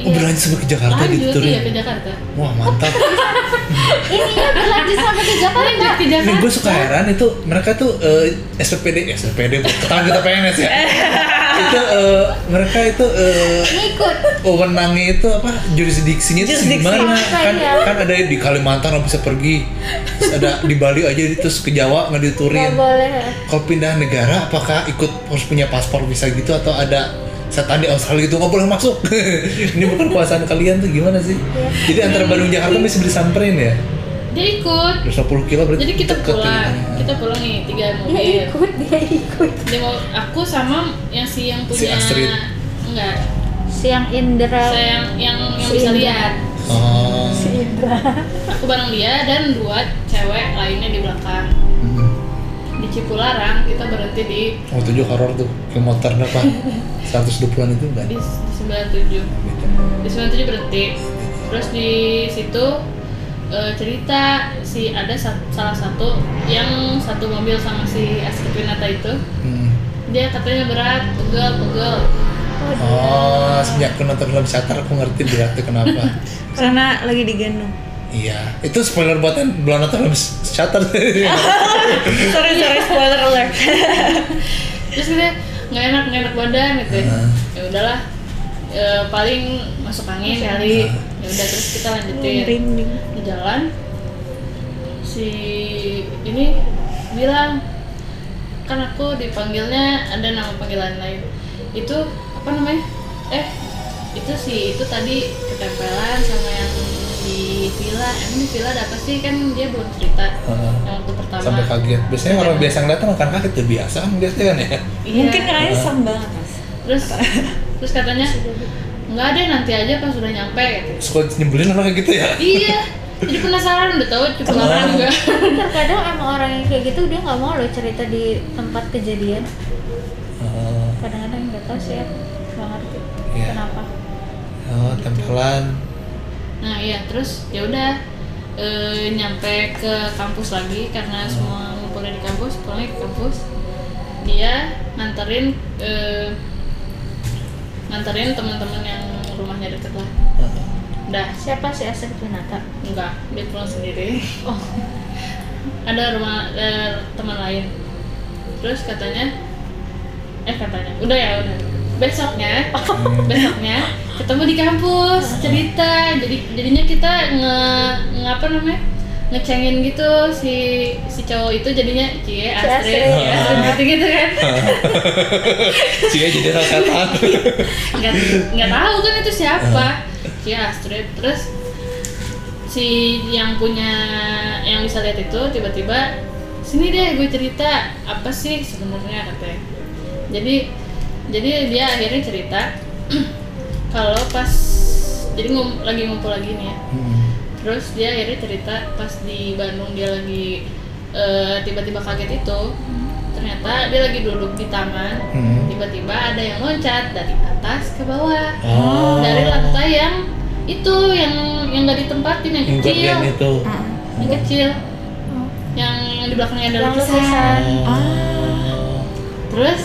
[SPEAKER 1] Oh
[SPEAKER 2] Iya.
[SPEAKER 1] berlanjut sampai ke Jakarta gitu
[SPEAKER 2] lanjut
[SPEAKER 1] Rin.
[SPEAKER 2] iya ke Jakarta
[SPEAKER 1] Wah mantap.
[SPEAKER 4] ini ya berlanjut sampai ke Jakarta
[SPEAKER 2] lanjut ke
[SPEAKER 1] Ini
[SPEAKER 2] Jakarta
[SPEAKER 1] gue suka heran itu mereka tuh eh, SPPD SPPD tahun kita PNS ya. itu eh, mereka itu eh,
[SPEAKER 4] ngikut
[SPEAKER 1] wewenangnya itu apa jurisdiksinya itu
[SPEAKER 6] Jurisdiksi.
[SPEAKER 1] gimana kan
[SPEAKER 2] ya?
[SPEAKER 4] Iya.
[SPEAKER 1] kan ada di Kalimantan nggak bisa pergi Terus ada di Bali aja terus ke Jawa nggak
[SPEAKER 4] nggak
[SPEAKER 1] diturin
[SPEAKER 4] boleh
[SPEAKER 1] kalau pindah negara apakah ikut harus punya paspor bisa gitu atau ada setan di Australia gitu nggak boleh masuk ini bukan kuasaan kalian tuh gimana sih
[SPEAKER 2] Iya.
[SPEAKER 1] jadi antara Bandung Jakarta masih bisa disamperin ya
[SPEAKER 2] dia ikut
[SPEAKER 1] 250 kilo berarti
[SPEAKER 2] jadi kita
[SPEAKER 1] deket
[SPEAKER 2] pulang
[SPEAKER 1] ya.
[SPEAKER 2] kita pulang nih tiga
[SPEAKER 4] dia
[SPEAKER 2] mobil
[SPEAKER 4] ikut dia ikut
[SPEAKER 2] dia mau aku sama yang si yang
[SPEAKER 1] Si
[SPEAKER 2] punya
[SPEAKER 1] Astrid.
[SPEAKER 2] enggak
[SPEAKER 4] siang Indra
[SPEAKER 2] saya yang yang, yang
[SPEAKER 4] Oh. Si
[SPEAKER 2] bisa
[SPEAKER 4] Indra.
[SPEAKER 2] lihat
[SPEAKER 1] Oh.
[SPEAKER 2] aku bareng dia dan dua cewek lainnya di belakang
[SPEAKER 1] Mm.
[SPEAKER 2] di Cipularang kita berhenti di
[SPEAKER 1] Oh, tujuh horor tuh kilometer berapa 120-an itu kan
[SPEAKER 2] di, di 97 di 97 berhenti terus di situ eh, cerita si ada sa- salah satu yang satu mobil sama si Astrid Winata itu
[SPEAKER 1] Hmm.
[SPEAKER 2] dia katanya berat pegel pegel
[SPEAKER 1] Oh, sejak aku nonton film Shutter aku ngerti beratnya kenapa.
[SPEAKER 6] karena lagi digendong
[SPEAKER 1] iya, itu spoiler buat yang belum nonton film Shutter.
[SPEAKER 6] sorry sorry spoiler alert
[SPEAKER 2] terus dia nggak enak nggak enak badan gitu ya ya udahlah eh, paling masuk angin kali ya udah terus kita lanjutin
[SPEAKER 6] merinding
[SPEAKER 2] di jalan si ini bilang kan aku dipanggilnya ada nama panggilan lain itu apa namanya eh itu si itu tadi ketempelan sama yang di villa emang di villa ada apa sih kan dia belum cerita
[SPEAKER 1] Heeh.
[SPEAKER 2] yang waktu pertama
[SPEAKER 1] Sampai kaget. Biasanya orang biasa yang datang akan kaget tuh biasa biasanya kan ya.
[SPEAKER 2] Iya.
[SPEAKER 6] mungkin karena sang banget mas
[SPEAKER 2] terus terus katanya nggak deh nanti aja pas sudah nyampe gitu
[SPEAKER 1] Suka nyebelin orang kayak gitu ya.
[SPEAKER 2] iya jadi penasaran udah tahu cukup lama juga
[SPEAKER 4] Tapi terkadang emang orang yang kayak gitu dia nggak mau lo cerita di tempat kejadian
[SPEAKER 1] Oh,
[SPEAKER 4] kadang-kadang nggak tahu sih ya nggak ngerti
[SPEAKER 1] Iya.
[SPEAKER 4] kenapa
[SPEAKER 1] oh tempelan.
[SPEAKER 2] Nah iya terus ya udah eh, nyampe ke kampus lagi karena semua ngumpulnya di kampus, pulangnya ke kampus. Dia nganterin eh, nganterin teman-teman yang rumahnya deket lah.
[SPEAKER 1] Oh.
[SPEAKER 2] Udah
[SPEAKER 4] siapa sih Asep Winata
[SPEAKER 2] enggak dia pulang sendiri. Oh ada rumah ada teman lain. Terus katanya eh katanya udah ya udah besoknya besoknya ketemu di kampus cerita jadi jadinya kita nge, nge- apa namanya ngecengin gitu si si cowok itu jadinya cie
[SPEAKER 4] Astrid.
[SPEAKER 2] Astrid ya gitu gitu kan
[SPEAKER 1] Cie Iya, jadi orang setan.
[SPEAKER 2] nggak nggak tahu kan itu siapa cie Astrid terus si yang punya yang bisa lihat itu tiba-tiba sini deh gue cerita apa sih sebenarnya katanya jadi jadi dia akhirnya cerita kalau pas jadi ngum- lagi ngumpul lagi nih ya
[SPEAKER 4] Hmm.
[SPEAKER 2] terus dia akhirnya cerita pas di Bandung dia lagi eh, tiba-tiba kaget itu ternyata dia lagi duduk di taman
[SPEAKER 1] Hmm.
[SPEAKER 2] tiba-tiba ada yang loncat dari atas ke bawah
[SPEAKER 1] Oh.
[SPEAKER 2] dari lantai yang itu yang yang nggak ditempatin yang
[SPEAKER 1] Yang
[SPEAKER 2] kecil
[SPEAKER 1] bagian itu.
[SPEAKER 2] yang kecil yang yang di belakangnya ada
[SPEAKER 4] Oh. Yang
[SPEAKER 2] lukisan
[SPEAKER 4] ah.
[SPEAKER 1] Oh.
[SPEAKER 2] terus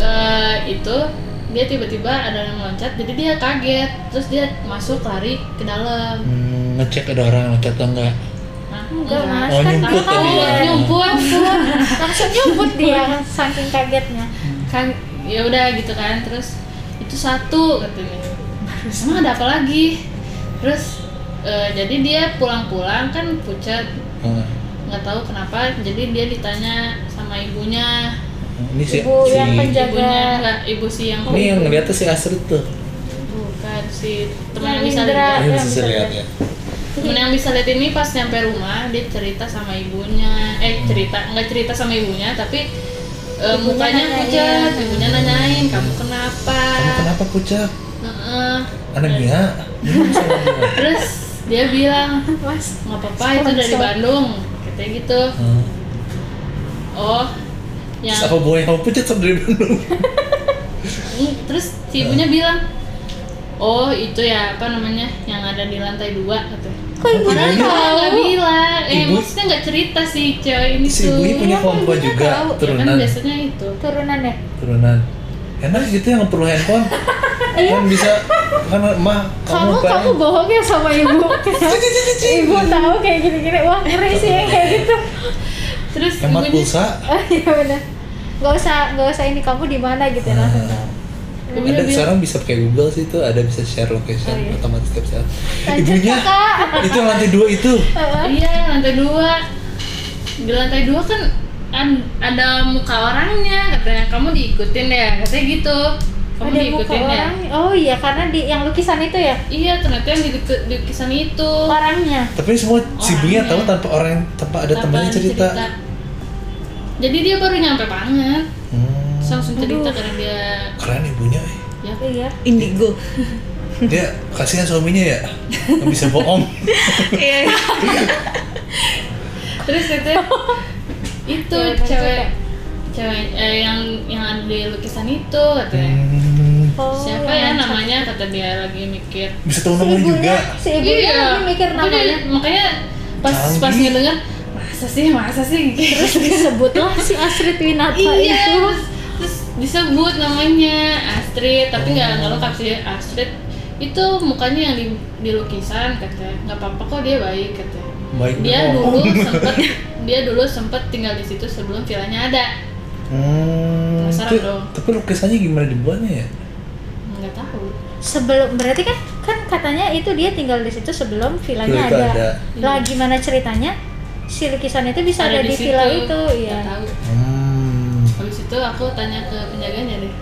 [SPEAKER 2] eh, itu dia tiba-tiba ada yang loncat jadi dia kaget terus dia masuk lari ke dalam
[SPEAKER 1] Hmm, ngecek ada orang loncat atau enggak.
[SPEAKER 2] Nah,
[SPEAKER 4] enggak mas
[SPEAKER 1] Oh,
[SPEAKER 4] kan
[SPEAKER 1] nyumput
[SPEAKER 4] kamu
[SPEAKER 1] tadi ya.
[SPEAKER 4] tahu
[SPEAKER 2] nyumpun
[SPEAKER 4] langsung nyebut dia saking kagetnya
[SPEAKER 2] kan ya udah gitu kan terus itu satu katanya terus emang ada apa lagi terus eh, jadi dia pulang-pulang kan pucat
[SPEAKER 1] Hmm.
[SPEAKER 2] nggak tahu kenapa jadi dia ditanya sama ibunya
[SPEAKER 1] Ini si,
[SPEAKER 4] ibu
[SPEAKER 1] si
[SPEAKER 4] yang
[SPEAKER 2] ibunya
[SPEAKER 4] penjaga
[SPEAKER 2] nggak ibu si yang
[SPEAKER 1] ini yang ngeliatnya si Astrid tuh.
[SPEAKER 2] bukan si teman yang
[SPEAKER 4] yang
[SPEAKER 2] bisa
[SPEAKER 4] Indra
[SPEAKER 2] lihat
[SPEAKER 1] Ini
[SPEAKER 4] Ah, yang
[SPEAKER 1] bisa
[SPEAKER 4] bisa
[SPEAKER 1] lihat ya.
[SPEAKER 4] lihat.
[SPEAKER 2] teman yang bisa lihat ini pas nyampe rumah dia cerita sama ibunya eh cerita nggak cerita sama ibunya tapi eh,
[SPEAKER 4] Ibunya
[SPEAKER 2] mukanya
[SPEAKER 4] nanyain.
[SPEAKER 2] pucat ibunya nanyain kamu kenapa,
[SPEAKER 1] Kamu kenapa pucat?
[SPEAKER 2] Heeh.
[SPEAKER 1] Anemia. Hmm, sama dia.
[SPEAKER 2] terus dia bilang
[SPEAKER 4] mas
[SPEAKER 2] nggak apa-apa itu dari
[SPEAKER 4] Sponsor.
[SPEAKER 2] Bandung katanya gitu
[SPEAKER 1] Hmm.
[SPEAKER 2] oh yang
[SPEAKER 1] Terus apa boy kamu pucat sama dari Bandung?
[SPEAKER 2] Hmm, terus si ibunya bilang oh itu ya apa namanya yang ada di lantai dua katanya
[SPEAKER 4] kok ibu
[SPEAKER 5] Iya,
[SPEAKER 2] Padahal
[SPEAKER 4] tahu
[SPEAKER 2] nggak bilang, eh
[SPEAKER 5] Ibu-
[SPEAKER 2] maksudnya nggak cerita sih cewek ini
[SPEAKER 5] Si
[SPEAKER 2] tuh.
[SPEAKER 5] ibu ini punya
[SPEAKER 2] Kenapa
[SPEAKER 5] kemampuan
[SPEAKER 2] kita
[SPEAKER 5] juga,
[SPEAKER 2] Iya, tahu? Ya
[SPEAKER 5] turunan.
[SPEAKER 2] kan biasanya itu.
[SPEAKER 4] turunan ya
[SPEAKER 5] turunan enak gitu yang perlu handphone
[SPEAKER 2] Iya.
[SPEAKER 5] kan bisa kan mah
[SPEAKER 4] kamu
[SPEAKER 5] kamu
[SPEAKER 4] kamu bohong ya sama ibu ibu tahu kayak gini-gini wah ngeri sih yang kayak gitu
[SPEAKER 2] Terus
[SPEAKER 5] hemat
[SPEAKER 2] ibunya,
[SPEAKER 5] pulsa
[SPEAKER 4] oh iya benar nggak usah nggak usah ini kamu di mana gitu
[SPEAKER 5] Nah,
[SPEAKER 4] langsung tahu
[SPEAKER 2] Iya. ibunya
[SPEAKER 5] ada
[SPEAKER 2] bilang,
[SPEAKER 5] sekarang bisa pakai Google sih itu ada bisa share location
[SPEAKER 4] Oh, iya.
[SPEAKER 5] otomatis tiap saat
[SPEAKER 4] Lanjut,
[SPEAKER 5] ibunya
[SPEAKER 4] Kakak.
[SPEAKER 5] itu yang lantai dua itu
[SPEAKER 4] Eh,
[SPEAKER 2] Iya, lantai dua. Di lantai dua kan an- ada muka orangnya, katanya kamu diikutin ya, katanya gitu. Kamu
[SPEAKER 4] ada muka
[SPEAKER 2] diikutin ya.
[SPEAKER 4] orang oh iya karena di yang lukisan itu ya
[SPEAKER 2] Iya, ternyata yang di, deket- di lukisan itu.
[SPEAKER 4] orangnya
[SPEAKER 5] tapi semua si ibunya tahu tanpa orang tanpa ada
[SPEAKER 2] Oh, iya. Tanpa
[SPEAKER 5] temannya
[SPEAKER 2] ada
[SPEAKER 5] cerita
[SPEAKER 2] Jadi dia baru nyampe banget,
[SPEAKER 5] Hmm,
[SPEAKER 2] Terus langsung cerita
[SPEAKER 4] Aduh.
[SPEAKER 2] karena dia
[SPEAKER 5] keren ibunya eh.
[SPEAKER 2] ya
[SPEAKER 4] iya
[SPEAKER 6] indigo
[SPEAKER 5] dia kasihan suaminya ya nggak bisa bohong
[SPEAKER 6] iya
[SPEAKER 2] terus itu itu
[SPEAKER 4] Cewek banget
[SPEAKER 2] cewek
[SPEAKER 4] ya.
[SPEAKER 2] cewek eh, yang yang ada di lukisan itu katanya
[SPEAKER 5] Hmm,
[SPEAKER 4] oh,
[SPEAKER 2] siapa ya
[SPEAKER 4] yang lancar.
[SPEAKER 2] namanya kata dia lagi mikir
[SPEAKER 5] bisa tahu
[SPEAKER 4] si
[SPEAKER 5] namanya
[SPEAKER 4] ibunya
[SPEAKER 5] juga
[SPEAKER 4] si ibunya Ya,
[SPEAKER 2] Iya.
[SPEAKER 4] lagi mikir
[SPEAKER 2] Itu dia-
[SPEAKER 4] namanya
[SPEAKER 2] makanya pas pas
[SPEAKER 5] Canggih.
[SPEAKER 2] ngedenger masa sih masa sih
[SPEAKER 4] terus disebutlah si Astrid Winata
[SPEAKER 2] iya
[SPEAKER 4] itu
[SPEAKER 2] terus, terus disebut namanya Astrid tapi nggak nggak lengkap sih Astrid itu mukanya yang di, di lukisan katanya nggak apa-apa kok dia baik katanya
[SPEAKER 5] baik
[SPEAKER 2] dia
[SPEAKER 4] Oh.
[SPEAKER 5] bohong.
[SPEAKER 2] dulu sempet dia dulu sempet tinggal di situ sebelum villanya ada
[SPEAKER 5] Hmm,
[SPEAKER 2] Penasaran
[SPEAKER 5] tapi-
[SPEAKER 2] dong.
[SPEAKER 5] tapi lukisannya gimana dibuatnya ya?
[SPEAKER 2] nggak tahu
[SPEAKER 4] sebelum berarti kan kan katanya itu dia tinggal di situ sebelum
[SPEAKER 5] Villa
[SPEAKER 4] vilanya
[SPEAKER 5] itu
[SPEAKER 4] ada.
[SPEAKER 5] ada.
[SPEAKER 4] Lah gimana ceritanya si lukisan itu bisa ada, di, villa itu ya.
[SPEAKER 2] ya tahu
[SPEAKER 5] Hmm.
[SPEAKER 2] habis itu aku tanya ke penjaganya deh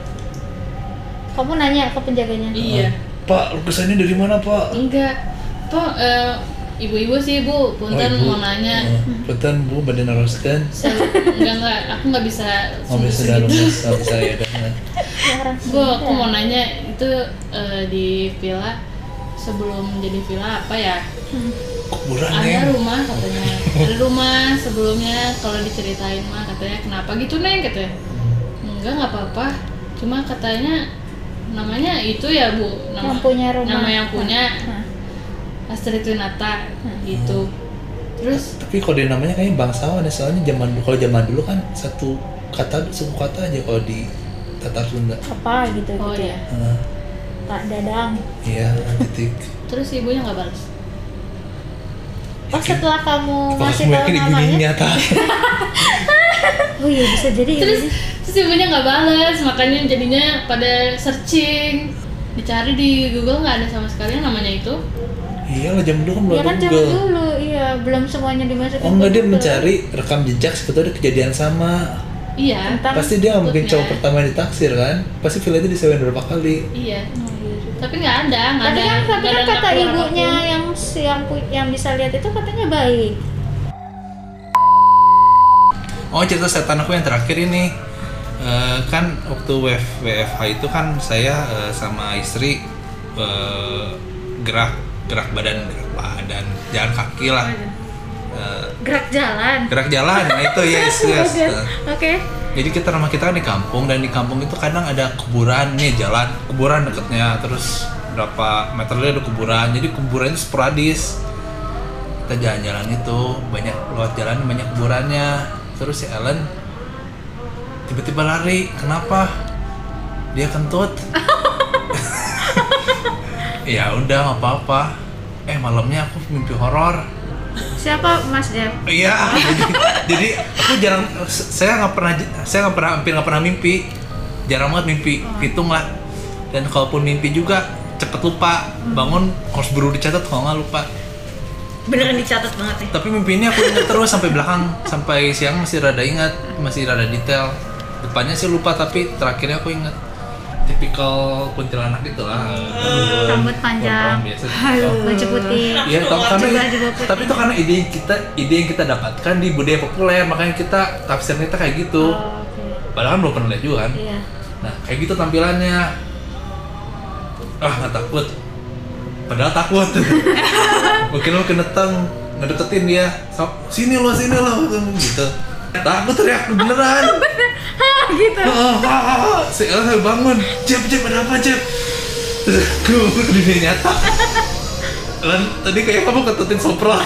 [SPEAKER 4] Kamu nanya ke penjaganya.
[SPEAKER 2] iya
[SPEAKER 5] Hmm. Pak, lukisannya dari mana, Pak?
[SPEAKER 2] enggak kok eh, ibu-ibu sih bu punten
[SPEAKER 5] ibu.
[SPEAKER 2] Iya, mau nanya
[SPEAKER 5] Oh, punten, Bu, badan aroskan.
[SPEAKER 2] Saya- enggak enggak aku nggak bisa
[SPEAKER 5] Oh, bisa dalam
[SPEAKER 2] gitu.
[SPEAKER 5] sama saya Nah, dan
[SPEAKER 4] Ya, orang
[SPEAKER 2] bu
[SPEAKER 4] Sunda.
[SPEAKER 2] aku mau nanya itu eh, di villa sebelum jadi villa apa ya
[SPEAKER 5] kuburan ya.
[SPEAKER 2] ada rumah katanya ada rumah sebelumnya kalau diceritain mah katanya kenapa gitu neng katanya enggak nggak apa-apa cuma katanya namanya itu ya bu nama
[SPEAKER 4] yang punya rumah.
[SPEAKER 2] nama yang punya
[SPEAKER 4] Nah, Nah.
[SPEAKER 2] Astrid Winata gitu terus
[SPEAKER 5] Tapi kalau dia namanya kayaknya bangsawan ya, soalnya zaman kalau zaman dulu kan satu kata suku kata aja kalau di Tatar Sunda.
[SPEAKER 4] apa gitu
[SPEAKER 2] oh
[SPEAKER 4] gitu.
[SPEAKER 2] ya
[SPEAKER 5] Nah,
[SPEAKER 4] Pak Dadang.
[SPEAKER 5] Iya, titik.
[SPEAKER 2] terus ibunya nggak balas
[SPEAKER 4] Oh setelah
[SPEAKER 5] Kalau
[SPEAKER 4] kamu ngasih
[SPEAKER 5] kamu
[SPEAKER 4] tahu
[SPEAKER 5] yakin
[SPEAKER 4] namanya.
[SPEAKER 5] ibunya nyata,
[SPEAKER 4] Oh iya bisa jadi ya.
[SPEAKER 2] terus terus ibunya nggak balas makanya jadinya pada searching dicari di Google nggak ada sama sekali yang namanya itu
[SPEAKER 5] iya lah zaman dulu kan belum
[SPEAKER 4] Ya kan
[SPEAKER 5] ada
[SPEAKER 4] zaman
[SPEAKER 5] Google.
[SPEAKER 4] dulu iya belum semuanya dimasukin.
[SPEAKER 5] Oh enggak
[SPEAKER 4] ke
[SPEAKER 5] dia
[SPEAKER 4] Google.
[SPEAKER 5] mencari rekam jejak sebetulnya ada kejadian sama.
[SPEAKER 2] iya
[SPEAKER 4] Tentang-
[SPEAKER 5] Pasti dia nggak mungkin
[SPEAKER 2] Takutnya.
[SPEAKER 5] cowok pertama yang ditaksir kan? Pasti villa itu disewain berapa kali?
[SPEAKER 2] iya
[SPEAKER 4] Oh, iya juga.
[SPEAKER 2] tapi nggak ada nggak
[SPEAKER 4] Tapi
[SPEAKER 2] ada
[SPEAKER 4] kan, tapi
[SPEAKER 2] nggak
[SPEAKER 4] kan
[SPEAKER 2] ada
[SPEAKER 4] kata
[SPEAKER 2] pengakuan
[SPEAKER 4] ibunya
[SPEAKER 2] apapun.
[SPEAKER 4] yang si- yang pu- yang bisa lihat itu katanya baik.
[SPEAKER 1] Oh cerita setan aku yang terakhir ini Eh, kan waktu WF, WFH itu kan saya eh, sama istri eh, gerak gerak badan gerak badan jalan kaki lah Eh,
[SPEAKER 4] Gerak jalan.
[SPEAKER 1] gerak jalan nah itu yes yes Eh,
[SPEAKER 4] Oke.
[SPEAKER 1] jadi kita rumah kita kan di kampung dan di kampung itu kadang ada kuburan nih jalan kuburan deketnya terus berapa meter lagi ada kuburan jadi kuburan itu sporadis kita jalan-jalan itu banyak lewat jalan banyak kuburannya terus si Ellen tiba-tiba lari kenapa dia kentut ya udah nggak apa-apa eh malamnya aku mimpi horor
[SPEAKER 4] Siapa Mas Dev?
[SPEAKER 1] Iya, jadi, jadi aku jarang, saya nggak pernah, saya nggak pernah, hampir nggak pernah mimpi, jarang banget mimpi,
[SPEAKER 4] Oh.
[SPEAKER 1] hitung lah. Dan kalaupun mimpi juga cepet lupa,
[SPEAKER 4] Hmm.
[SPEAKER 1] bangun harus buru dicatat kalau nggak lupa.
[SPEAKER 6] beneran dicatat banget nih
[SPEAKER 1] Tapi mimpi ini aku ingat terus sampai belakang, sampai siang masih rada ingat, masih rada detail. Depannya sih lupa, tapi terakhirnya aku ingat. Tipikal kuntilanak itu lah.
[SPEAKER 4] Rambut
[SPEAKER 1] Orang
[SPEAKER 4] panjang.
[SPEAKER 1] biasa.
[SPEAKER 4] Baju putih.
[SPEAKER 1] Iya, tapi karena
[SPEAKER 4] Coba juga putih.
[SPEAKER 1] tapi itu karena ide yang kita ide yang kita dapatkan di budaya populer, makanya kita tafsirnya kita kayak gitu.
[SPEAKER 4] Oh, Oke.
[SPEAKER 1] Padahal kan belum pernah lihat juga kan.
[SPEAKER 4] Iya.
[SPEAKER 1] Nah, kayak gitu tampilannya. Ah, nggak takut. Padahal takut. Mungkin lo keneteng, ngedeketin dia. Sa- Sini lo, sini lo, gitu. Takut teriak beneran. gitu. si Elsa bangun. Jep, jep, ada apa, jep? Terus aku di dunia nyata. Lan, tadi kayak kamu ketutin soprol.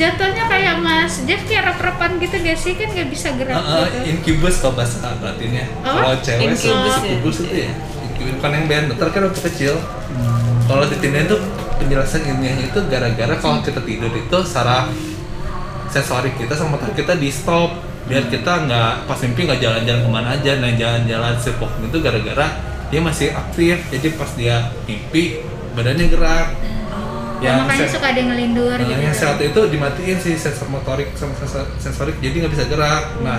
[SPEAKER 4] jatuhnya kayak Mas Jeff kayak rep-repan gitu gak sih kan gak bisa
[SPEAKER 5] Ah,
[SPEAKER 4] gerak
[SPEAKER 1] Heeh,
[SPEAKER 5] iya.
[SPEAKER 4] gitu.
[SPEAKER 1] Ah, incubus kalau bahasa Latinnya. Kalau cewek
[SPEAKER 6] Incubus
[SPEAKER 1] incubus,
[SPEAKER 6] ya.
[SPEAKER 1] incubus itu ya. Incubus bukan yang band, dokter kan waktu kecil. Kalau titinnya itu penjelasan ilmiahnya itu gara-gara kalau kita tidur itu saraf sensorik kita sama otak kita di stop biar kita nggak pas mimpi nggak jalan-jalan kemana aja nah jalan-jalan sleepwalk itu gara-gara dia masih aktif jadi pas dia mimpi badannya gerak Ya,
[SPEAKER 4] Oh, makanya
[SPEAKER 1] sen-
[SPEAKER 4] suka ada yang ngelindur
[SPEAKER 5] Ah,
[SPEAKER 1] Nah,
[SPEAKER 4] gitu.
[SPEAKER 1] yang saat itu dimatiin sih sensor motorik sama sensor- sensorik jadi nggak bisa gerak. Nah,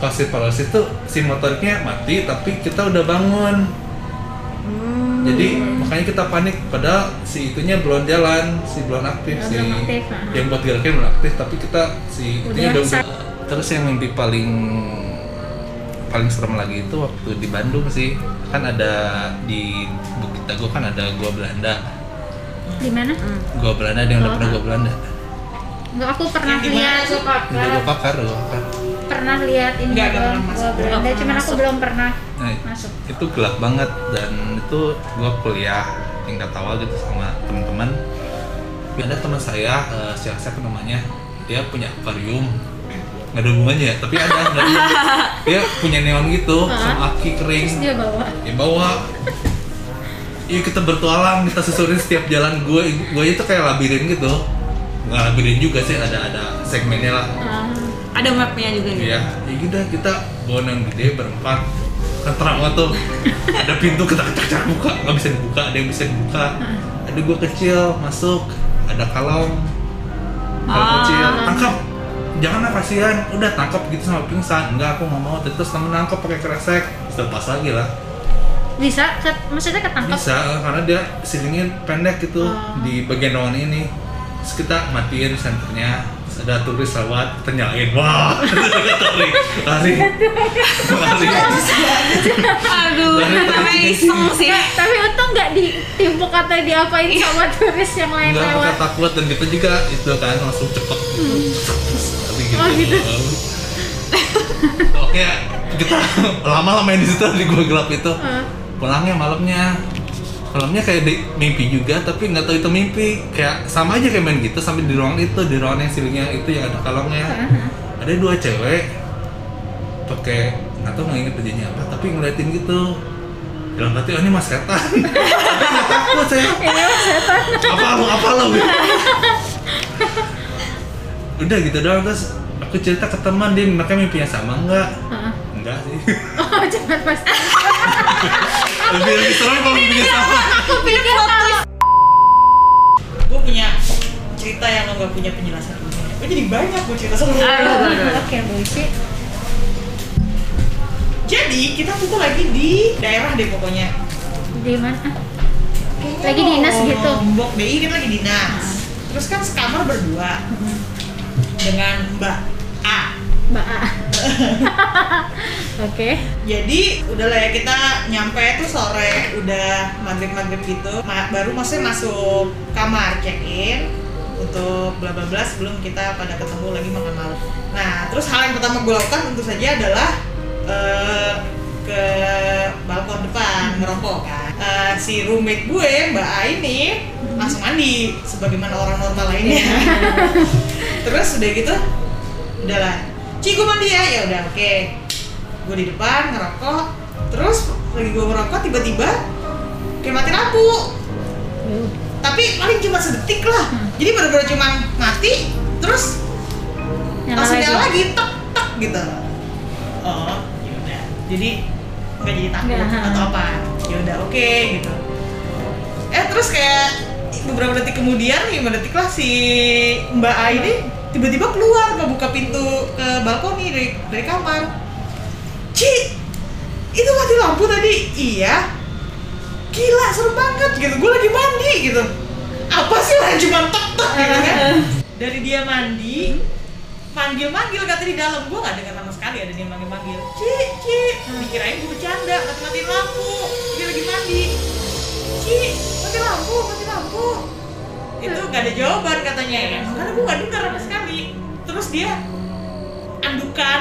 [SPEAKER 1] kalau sleep paralysis itu si motoriknya mati tapi kita udah bangun. Jadi makanya kita panik padahal si itunya belum jalan, si belum aktif,
[SPEAKER 4] Oh,
[SPEAKER 1] si
[SPEAKER 4] belum aktif, ah.
[SPEAKER 1] yang buat gerakin belum aktif tapi kita si itunya udah,
[SPEAKER 4] Udah, sa-
[SPEAKER 1] Terus yang mimpi paling paling serem lagi itu waktu di Bandung sih kan ada di Bukit Dago kan ada gua Belanda
[SPEAKER 4] Di mana?
[SPEAKER 5] Hmm.
[SPEAKER 1] gua Belanda ada yang udah pernah gua Belanda
[SPEAKER 4] Enggak aku pernah lihat
[SPEAKER 1] udah gua pakar udah gua pakar
[SPEAKER 4] pernah lihat ini
[SPEAKER 3] Nggak, nggak
[SPEAKER 4] doang
[SPEAKER 3] pernah
[SPEAKER 4] gua
[SPEAKER 3] masuk.
[SPEAKER 4] Belanda
[SPEAKER 3] Nggak
[SPEAKER 4] cuman
[SPEAKER 3] pernah
[SPEAKER 4] aku
[SPEAKER 3] masuk.
[SPEAKER 4] belum pernah
[SPEAKER 1] nah,
[SPEAKER 4] masuk.
[SPEAKER 1] itu gelap banget dan itu gua kuliah tingkat awal gitu sama teman-teman ada teman saya eh, siapa siapa namanya dia punya akuarium nggak ada hubungannya ya tapi ada nggak ada hubungannya. dia punya neon gitu sama aki kering
[SPEAKER 4] Dia bawa.
[SPEAKER 1] ya bawa Iya kita bertualang, kita susurin setiap jalan gue, gue itu kayak labirin gitu. Nggak labirin juga sih, ada ada segmennya lah.
[SPEAKER 3] Ada mapnya juga nih.
[SPEAKER 1] Iya, ya gitu dah, kita bawa yang gede berempat Keterang banget tuh Ada pintu kita kecak buka, nggak bisa dibuka, ada yang bisa dibuka Ada gua kecil, masuk, ada kalong Kalong kecil, tangkap Jangan lah kasihan, udah tangkap gitu sama pingsan Enggak, aku nggak mau, terus temen nangkap pakai kresek Terus pas lagi lah
[SPEAKER 4] Bisa ke- maksudnya ketangkap.
[SPEAKER 1] bisa eh, karena dia silingnya pendek gitu di bagian ruangan ini terus kita matiin senternya terus ada turis lewat kita nyalain wah lari lari lari
[SPEAKER 3] Aduh, namanya iseng sih.
[SPEAKER 4] Tapi untung nggak ditimpuk atau diapain
[SPEAKER 3] Iya.
[SPEAKER 4] sama turis yang lain
[SPEAKER 1] nggak kita
[SPEAKER 4] lewat.
[SPEAKER 1] takut dan kita juga itu kan langsung cepet gitu Tapi gitu,
[SPEAKER 4] Oh, gitu.
[SPEAKER 1] oke ya. kita lama-lama main di situ di gua gelap itu
[SPEAKER 4] Heeh.
[SPEAKER 1] pulangnya malamnya malamnya kayak di, mimpi juga tapi nggak tahu itu mimpi kayak sama aja kayak main gitu sampai di ruangan itu di ruangan yang silingnya itu yang ada kalongnya ada dua cewek pakai nggak tahu nggak inget bajunya apa tapi ngeliatin gitu dalam hati oh ini mas setan tapi nggak takut saya apa lo apa lo udah gitu doang terus aku cerita ke teman dia mereka mimpinya sama nggak enggak sih
[SPEAKER 4] Oh, jangan pas.
[SPEAKER 1] lebih lebih serem kalau mimpinya sama
[SPEAKER 4] Aku pikir tahu.
[SPEAKER 3] Gue punya cerita yang lo gak punya penjelasan ilmiah. Gue jadi banyak gue cerita sama lo.
[SPEAKER 4] Oke, bullshit.
[SPEAKER 3] Jadi kita tuh lagi di daerah deh pokoknya.
[SPEAKER 4] Di mana?
[SPEAKER 3] Kayaknya
[SPEAKER 4] Lagi dinas
[SPEAKER 3] mau
[SPEAKER 4] gitu. Hmm.
[SPEAKER 3] Lombok deh, Iya, kita lagi dinas. Terus kan sekamar berdua dengan Mbak A.
[SPEAKER 4] Mbak A. Oke.
[SPEAKER 3] Jadi udah lah ya kita nyampe tuh sore udah maghrib maghrib gitu Ma- baru maksudnya masuk kamar check in untuk bla bla bla sebelum kita pada ketemu lagi makan malam. Nah terus hal yang pertama gue lakukan tentu saja adalah eh, ke balkon depan ngerokok kan. Eh, si roommate gue mbak A ini langsung mandi sebagaimana orang normal lainnya. terus udah gitu udahlah Ci gue mandi ya ya udah oke gue di depan ngerokok terus lagi gue ngerokok tiba-tiba kayak mati lampu tapi paling cuma sedetik lah jadi bener-bener cuma mati terus
[SPEAKER 4] Nyala
[SPEAKER 3] langsung
[SPEAKER 4] lagi.
[SPEAKER 3] nyala lagi tek tek gitu oh yaudah jadi nggak jadi takut
[SPEAKER 4] Nggak, ha.
[SPEAKER 3] atau apa yaudah oke gitu eh terus kayak beberapa detik kemudian lima detik lah si mbak A ini tiba-tiba keluar ngebuka pintu ke balkon nih dari, dari kamar Ci, itu mati lampu tadi? Iya. Gila, serem banget gitu. Gue lagi mandi gitu. Apa sih lah cuma tek tek gitu kan? Dari dia mandi, manggil-manggil kata di dalam. Gue gak dengar sama sekali ada dia manggil-manggil. Ci, Ci. Dikirain gue bercanda, mati-matiin lampu. Dia lagi mandi. Ci, mati lampu, mati lampu. Itu gak ada jawaban katanya ya. Karena gue gak dengar sama sekali. Terus dia andukan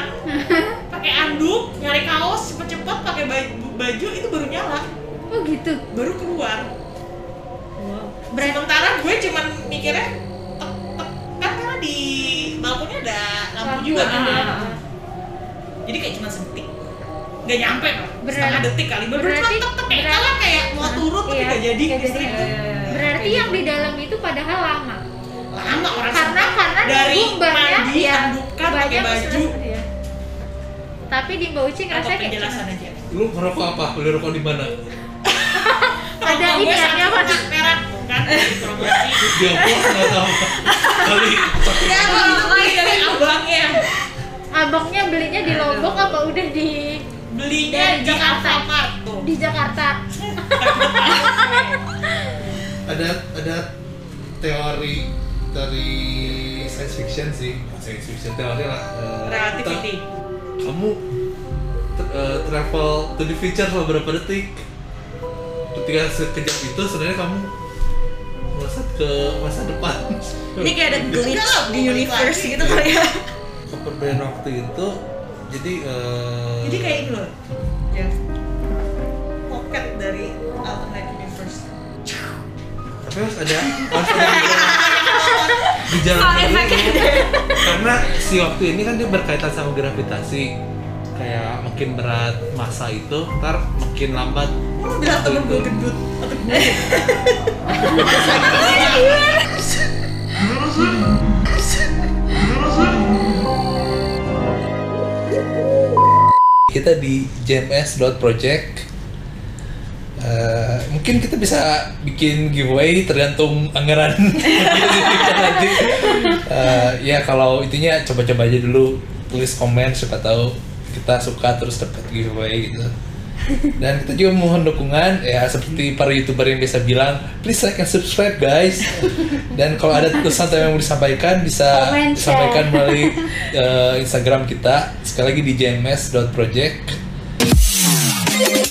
[SPEAKER 3] pakai anduk nyari kaos cepet-cepet pakai ba- baju itu baru nyala
[SPEAKER 4] Oh gitu.
[SPEAKER 3] baru keluar sementara gue cuman mikirnya tek, tek, kan karena di jiwa
[SPEAKER 2] Ah,
[SPEAKER 3] gitu.
[SPEAKER 2] ah, ah.
[SPEAKER 3] Jadi kayak cuma sedetik. Nggak nyampe lah.
[SPEAKER 4] Berarti-
[SPEAKER 3] Setengah detik kali. Baru
[SPEAKER 4] berarti-
[SPEAKER 3] cuma tek tek kayak
[SPEAKER 4] berarti-
[SPEAKER 3] jalan kayak mau turun tapi
[SPEAKER 4] Iya,
[SPEAKER 3] nggak jadi gitu.
[SPEAKER 4] nggak
[SPEAKER 3] listrik.
[SPEAKER 4] jadi. iya. Berarti yang di dalam itu padahal lama.
[SPEAKER 3] Lama orang
[SPEAKER 4] Karena
[SPEAKER 3] sempat.
[SPEAKER 4] karena
[SPEAKER 3] dari
[SPEAKER 4] nunggu banyak
[SPEAKER 3] mandi,
[SPEAKER 4] ya,
[SPEAKER 3] andukan, Kan pakai
[SPEAKER 4] banyak
[SPEAKER 3] baju.
[SPEAKER 4] stress dia. Tapi di Mbak Uci
[SPEAKER 3] Apa
[SPEAKER 4] ngerasa kayak
[SPEAKER 3] penjelasan aja?
[SPEAKER 1] Lu ngerokok apa? Beli rokok di mana?
[SPEAKER 4] ada
[SPEAKER 3] Rokok
[SPEAKER 4] ini
[SPEAKER 3] gue
[SPEAKER 4] ada apa?
[SPEAKER 3] satu
[SPEAKER 4] Ya,
[SPEAKER 3] kotak merah bukan kan, promosi.
[SPEAKER 1] Di Amplas nggak tahu. Kali
[SPEAKER 3] Ya kalau itu dari abangnya
[SPEAKER 4] Abangnya belinya di Lombok apa udah di
[SPEAKER 3] belinya
[SPEAKER 4] Dari
[SPEAKER 3] di
[SPEAKER 4] Jakarta.
[SPEAKER 3] Alfamart tuh.
[SPEAKER 4] di Jakarta?
[SPEAKER 5] ada ada teori dari science fiction sih
[SPEAKER 1] Science fiction teori lah. eh,
[SPEAKER 3] Relativity.
[SPEAKER 1] ter- Kamu ter- eh, travel to the future selama berapa detik? Ketika sekejap itu sebenarnya kamu melesat ke masa depan.
[SPEAKER 6] Ini kayak ada glitch di universe gitu kali ya.
[SPEAKER 1] Keperbedaan waktu itu jadi eh,
[SPEAKER 3] Jadi kayak ini loh. Ya. Pocket dari alternate universe.
[SPEAKER 1] tapi harus ada harus ada dijalankan dulu karena si waktu ini kan dia berkaitan sama gravitasi kayak makin berat masa itu ntar makin lambat
[SPEAKER 3] Lu bilang temen gue gendut atau gue.
[SPEAKER 1] kita di jms.project Eh, mungkin kita bisa bikin giveaway tergantung anggaran Kita nanti Eh, ya kalau itunya coba-coba aja dulu tulis komen siapa tahu kita suka terus dapat giveaway gitu dan kita juga mohon dukungan ya seperti para youtuber yang biasa bilang please like and subscribe guys dan kalau ada tulisan atau yang mau disampaikan bisa
[SPEAKER 4] Comment, share.
[SPEAKER 1] disampaikan melalui eh, Instagram kita sekali lagi di jms.project